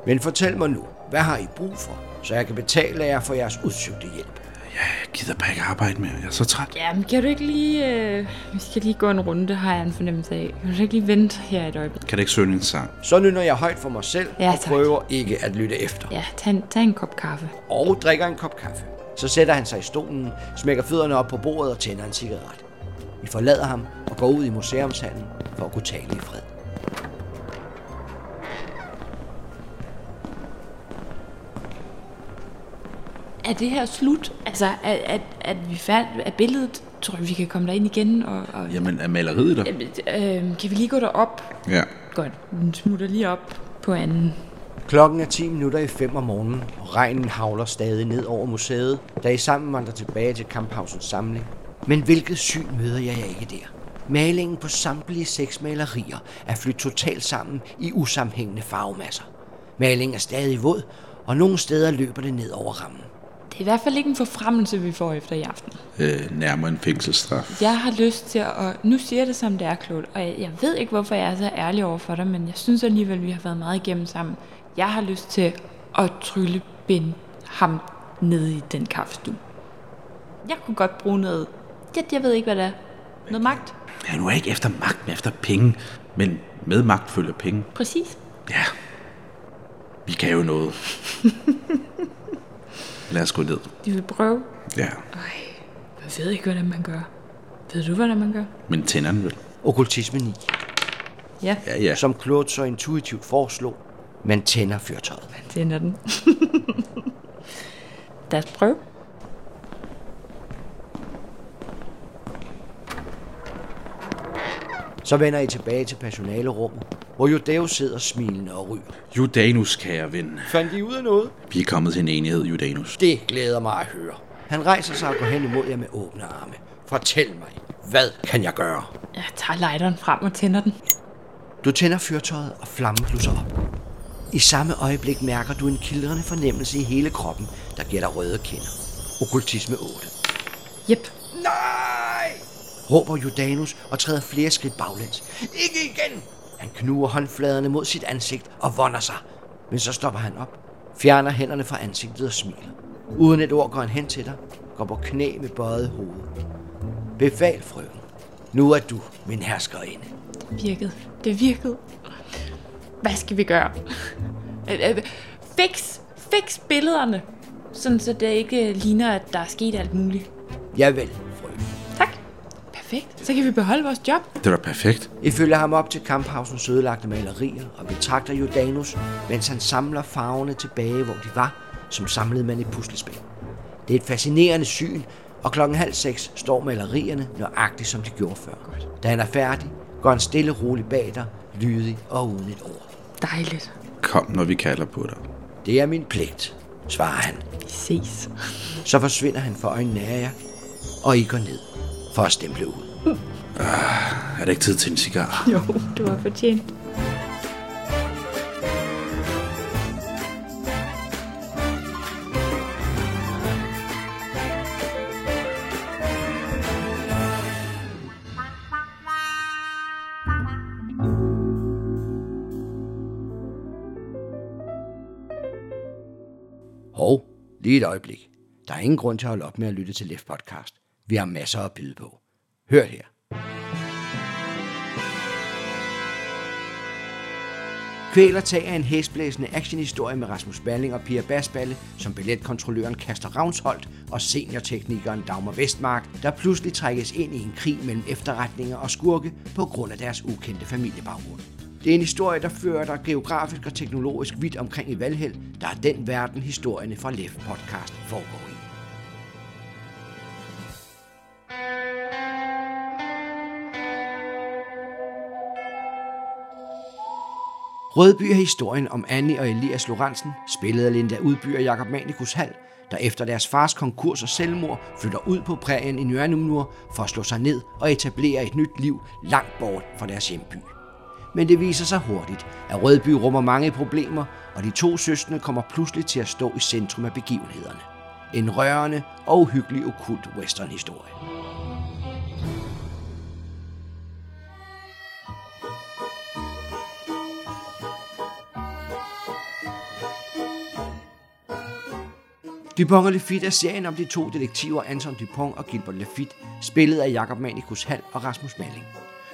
Speaker 1: Men fortæl mig nu, hvad har I brug for, så jeg kan betale jer for jeres udsøgte hjælp?
Speaker 9: Jeg gider bare ikke arbejde mere, jeg er så træt.
Speaker 2: Jamen, kan du ikke lige... Øh... Vi skal lige gå en runde, har jeg en fornemmelse af. Kan du ikke lige vente her et øjeblik?
Speaker 9: Kan du ikke synge en sang?
Speaker 1: Så nynner jeg højt for mig selv
Speaker 2: Ja,
Speaker 1: og
Speaker 2: tak.
Speaker 1: prøver ikke at lytte efter.
Speaker 2: Ja, tag en, tag en kop kaffe.
Speaker 1: Og drikker en kop kaffe. Så sætter han sig i stolen, smækker fødderne op på bordet og tænder en cigaret. Vi forlader ham og går ud i museumshallen for at kunne tale i fred.
Speaker 2: Er det her slut? Altså, at, at, at vi færd, er billedet... Tror du, vi kan komme derind igen? Og, og
Speaker 9: Jamen, er maleriet der?
Speaker 2: Jamen, øh, kan vi lige gå derop?
Speaker 9: Ja.
Speaker 2: Godt, den smutter lige op på anden.
Speaker 1: Klokken er 10 minutter i 5 om morgenen, og regnen havler stadig ned over museet, da I sammen vandrer tilbage til Kamphausens samling. Men hvilket syn møder jeg jer ikke der? Malingen på samtlige seks malerier er flyttet totalt sammen i usammenhængende farvemasser. Malingen er stadig våd, og nogle steder løber det ned over rammen.
Speaker 2: Det er i hvert fald ikke en forfremmelse, vi får efter i aften.
Speaker 9: Øh, nærmere en fængselsstraf.
Speaker 2: Jeg har lyst til at... Og nu siger jeg det, som det er, Claude. Og jeg, jeg ved ikke, hvorfor jeg er så ærlig over for dig, men jeg synes alligevel, vi har været meget igennem sammen. Jeg har lyst til at trylle ben ham nede i den kaffestue. Jeg kunne godt bruge noget... Jeg, jeg ved ikke, hvad det er. Noget magt?
Speaker 9: Ja, nu er jeg ikke efter magt, men efter penge. Men med magt følger penge.
Speaker 2: Præcis.
Speaker 9: Ja. Vi kan jo noget. Lad os gå ned.
Speaker 2: De vil prøve.
Speaker 9: Ja.
Speaker 2: Ej, jeg ved ikke, hvordan man gør. Ved du, hvordan man gør?
Speaker 9: Men tænderne vel?
Speaker 1: Okkultisme 9,
Speaker 2: Ja,
Speaker 9: Ja, ja.
Speaker 1: som Claude så intuitivt foreslog, man tænder fyrtøjet.
Speaker 2: man tænder den. Lad os prøve.
Speaker 1: Så vender I tilbage til personalerummet, hvor Judeo sidder smilende og ryger.
Speaker 9: Judanus, kære ven.
Speaker 1: Fandt I ud af noget?
Speaker 9: Vi er kommet til en enighed, Judanus.
Speaker 1: Det glæder mig at høre. Han rejser sig og går hen imod jer med åbne arme. Fortæl mig, hvad kan jeg gøre?
Speaker 2: Jeg tager lighteren frem og tænder den.
Speaker 1: Du tænder fyrtøjet, og flammen blusser op. I samme øjeblik mærker du en kildrende fornemmelse i hele kroppen, der giver dig røde kinder. Okkultisme 8.
Speaker 2: Jep,
Speaker 1: Råber Judanus og træder flere skridt baglæns. Ikke igen! Han knuger håndfladerne mod sit ansigt og vonder sig. Men så stopper han op, fjerner hænderne fra ansigtet og smiler. Uden et ord går han hen til dig, går på knæ med bøjet hoved. Befal, frøken. Nu er du min herskerinde.
Speaker 2: virkede. Det virkede. Hvad skal vi gøre? Øh, øh, fix, fix billederne. Sådan, så det ikke øh, ligner, at der er sket alt muligt.
Speaker 1: Jeg vil, frøken.
Speaker 2: Tak. Perfekt. Så kan vi beholde vores job.
Speaker 9: Det var perfekt.
Speaker 1: Ifølge ham op til kamphausens ødelagte malerier og betragter Jordanus, mens han samler farverne tilbage, hvor de var, som samlede man i puslespil. Det er et fascinerende syn, og klokken halv seks står malerierne nøjagtigt, som de gjorde før. Da han er færdig, går han stille og roligt bag dig, lydig og uden et ord.
Speaker 2: Dejligt.
Speaker 9: Kom, når vi kalder på dig.
Speaker 1: Det er min pligt, svarer han.
Speaker 2: Vi ses.
Speaker 1: Så forsvinder han for øjnene af jer, og I går ned for at stemple ud.
Speaker 9: Er det ikke tid til en cigar?
Speaker 2: Jo, det var fortjent.
Speaker 1: Hov, lige et øjeblik. Der er ingen grund til at holde op med at lytte til Lef Podcast. Vi har masser at byde på. Hør her. Kvæler tager en hæsblæsende actionhistorie med Rasmus Balling og Pia Basballe, som billetkontrolløren Kaster Ravnsholdt og seniorteknikeren Dagmar Vestmark, der pludselig trækkes ind i en krig mellem efterretninger og skurke på grund af deres ukendte familiebaggrund. Det er en historie, der fører dig geografisk og teknologisk vidt omkring i Valhæl, der er den verden, historierne fra Lef Podcast foregår i. Rødby er historien om Annie og Elias Lorentzen, spillet af Linda Udby og Jakob Manikus Hall, der efter deres fars konkurs og selvmord flytter ud på prærien i Nørnumnur for at slå sig ned og etablere et nyt liv langt bort fra deres hjemby. Men det viser sig hurtigt, at Rødby rummer mange problemer, og de to søstre kommer pludselig til at stå i centrum af begivenhederne. En rørende og uhyggelig okult westernhistorie. Dupont og Lafitte er serien om de to detektiver Anton Dupont og Gilbert Lafitte, spillet af Jakob Manikus Hall og Rasmus Malling.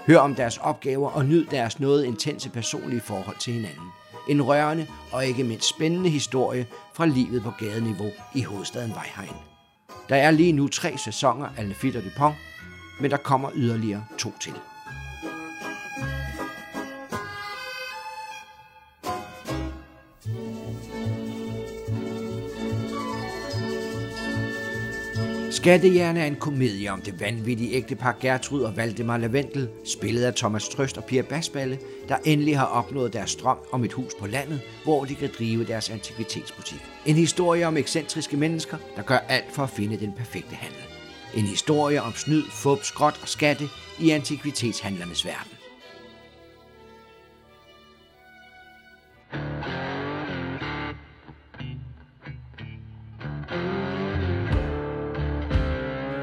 Speaker 1: Hør om deres opgaver og nyd deres noget intense personlige forhold til hinanden. En rørende og ikke mindst spændende historie fra livet på gadeniveau i hovedstaden Vejheim. Der er lige nu tre sæsoner af Lafitte og Dupont, men der kommer yderligere to til. Skattejerne er en komedie om det vanvittige ægtepar Gertrud og Valdemar Lavendel, spillet af Thomas Trøst og Pia Basballe, der endelig har opnået deres drøm om et hus på landet, hvor de kan drive deres antikvitetsbutik. En historie om ekscentriske mennesker, der gør alt for at finde den perfekte handel. En historie om snyd, fup, skråt og skatte i antikvitetshandlernes verden.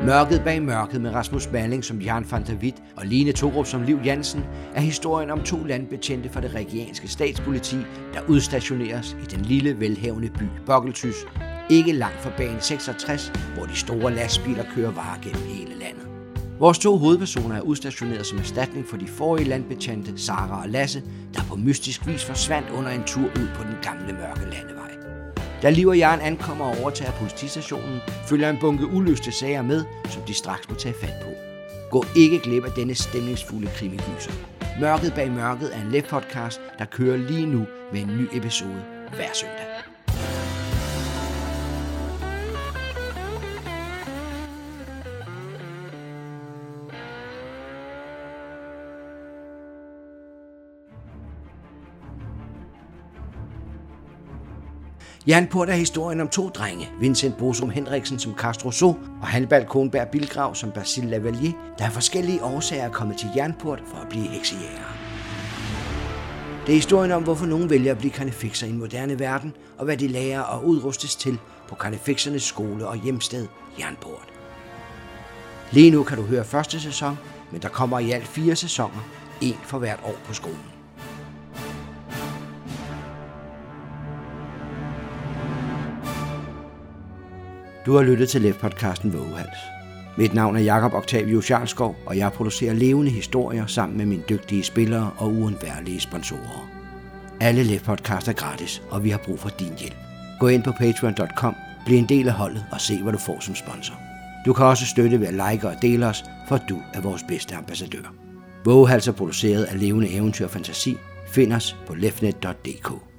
Speaker 1: Mørket bag mørket med Rasmus Malling som Jan van der Witt og Line Torup som Liv Jansen er historien om to landbetjente fra det regianske statspoliti, der udstationeres i den lille velhavende by Bokkeltys, ikke langt fra banen 66, hvor de store lastbiler kører varer gennem hele landet. Vores to hovedpersoner er udstationeret som erstatning for de forrige landbetjente, Sara og Lasse, der på mystisk vis forsvandt under en tur ud på den gamle mørke landevej. Da Liv og Jaren ankommer og overtager politistationen, følger en bunke uløste sager med, som de straks må tage fat på. Gå ikke glip af denne stemningsfulde krimigyser. Mørket bag mørket er en let podcast, der kører lige nu med en ny episode hver søndag. Jernport er historien om to drenge, Vincent Bosum Henriksen som Castro So og Hannibal Kohnberg Bilgrav som Basil Lavalier, der af forskellige årsager er kommet til Jernport for at blive heksejæger. Det er historien om, hvorfor nogen vælger at blive karnefixer i en moderne verden, og hvad de lærer og udrustes til på karnefixernes skole og hjemsted, Jernport. Lige nu kan du høre første sæson, men der kommer i alt fire sæsoner, en for hvert år på skolen. Du har lyttet til LEF-podcasten Vågehals. Mit navn er Jakob Octavius Jarlskov, og jeg producerer levende historier sammen med mine dygtige spillere og uundværlige sponsorer. Alle LEF-podcast er gratis, og vi har brug for din hjælp. Gå ind på patreon.com, bliv en del af holdet og se, hvad du får som sponsor. Du kan også støtte ved at like og dele os, for du er vores bedste ambassadør. Vågehals er produceret af levende eventyr og fantasi. Find os på lefnet.dk.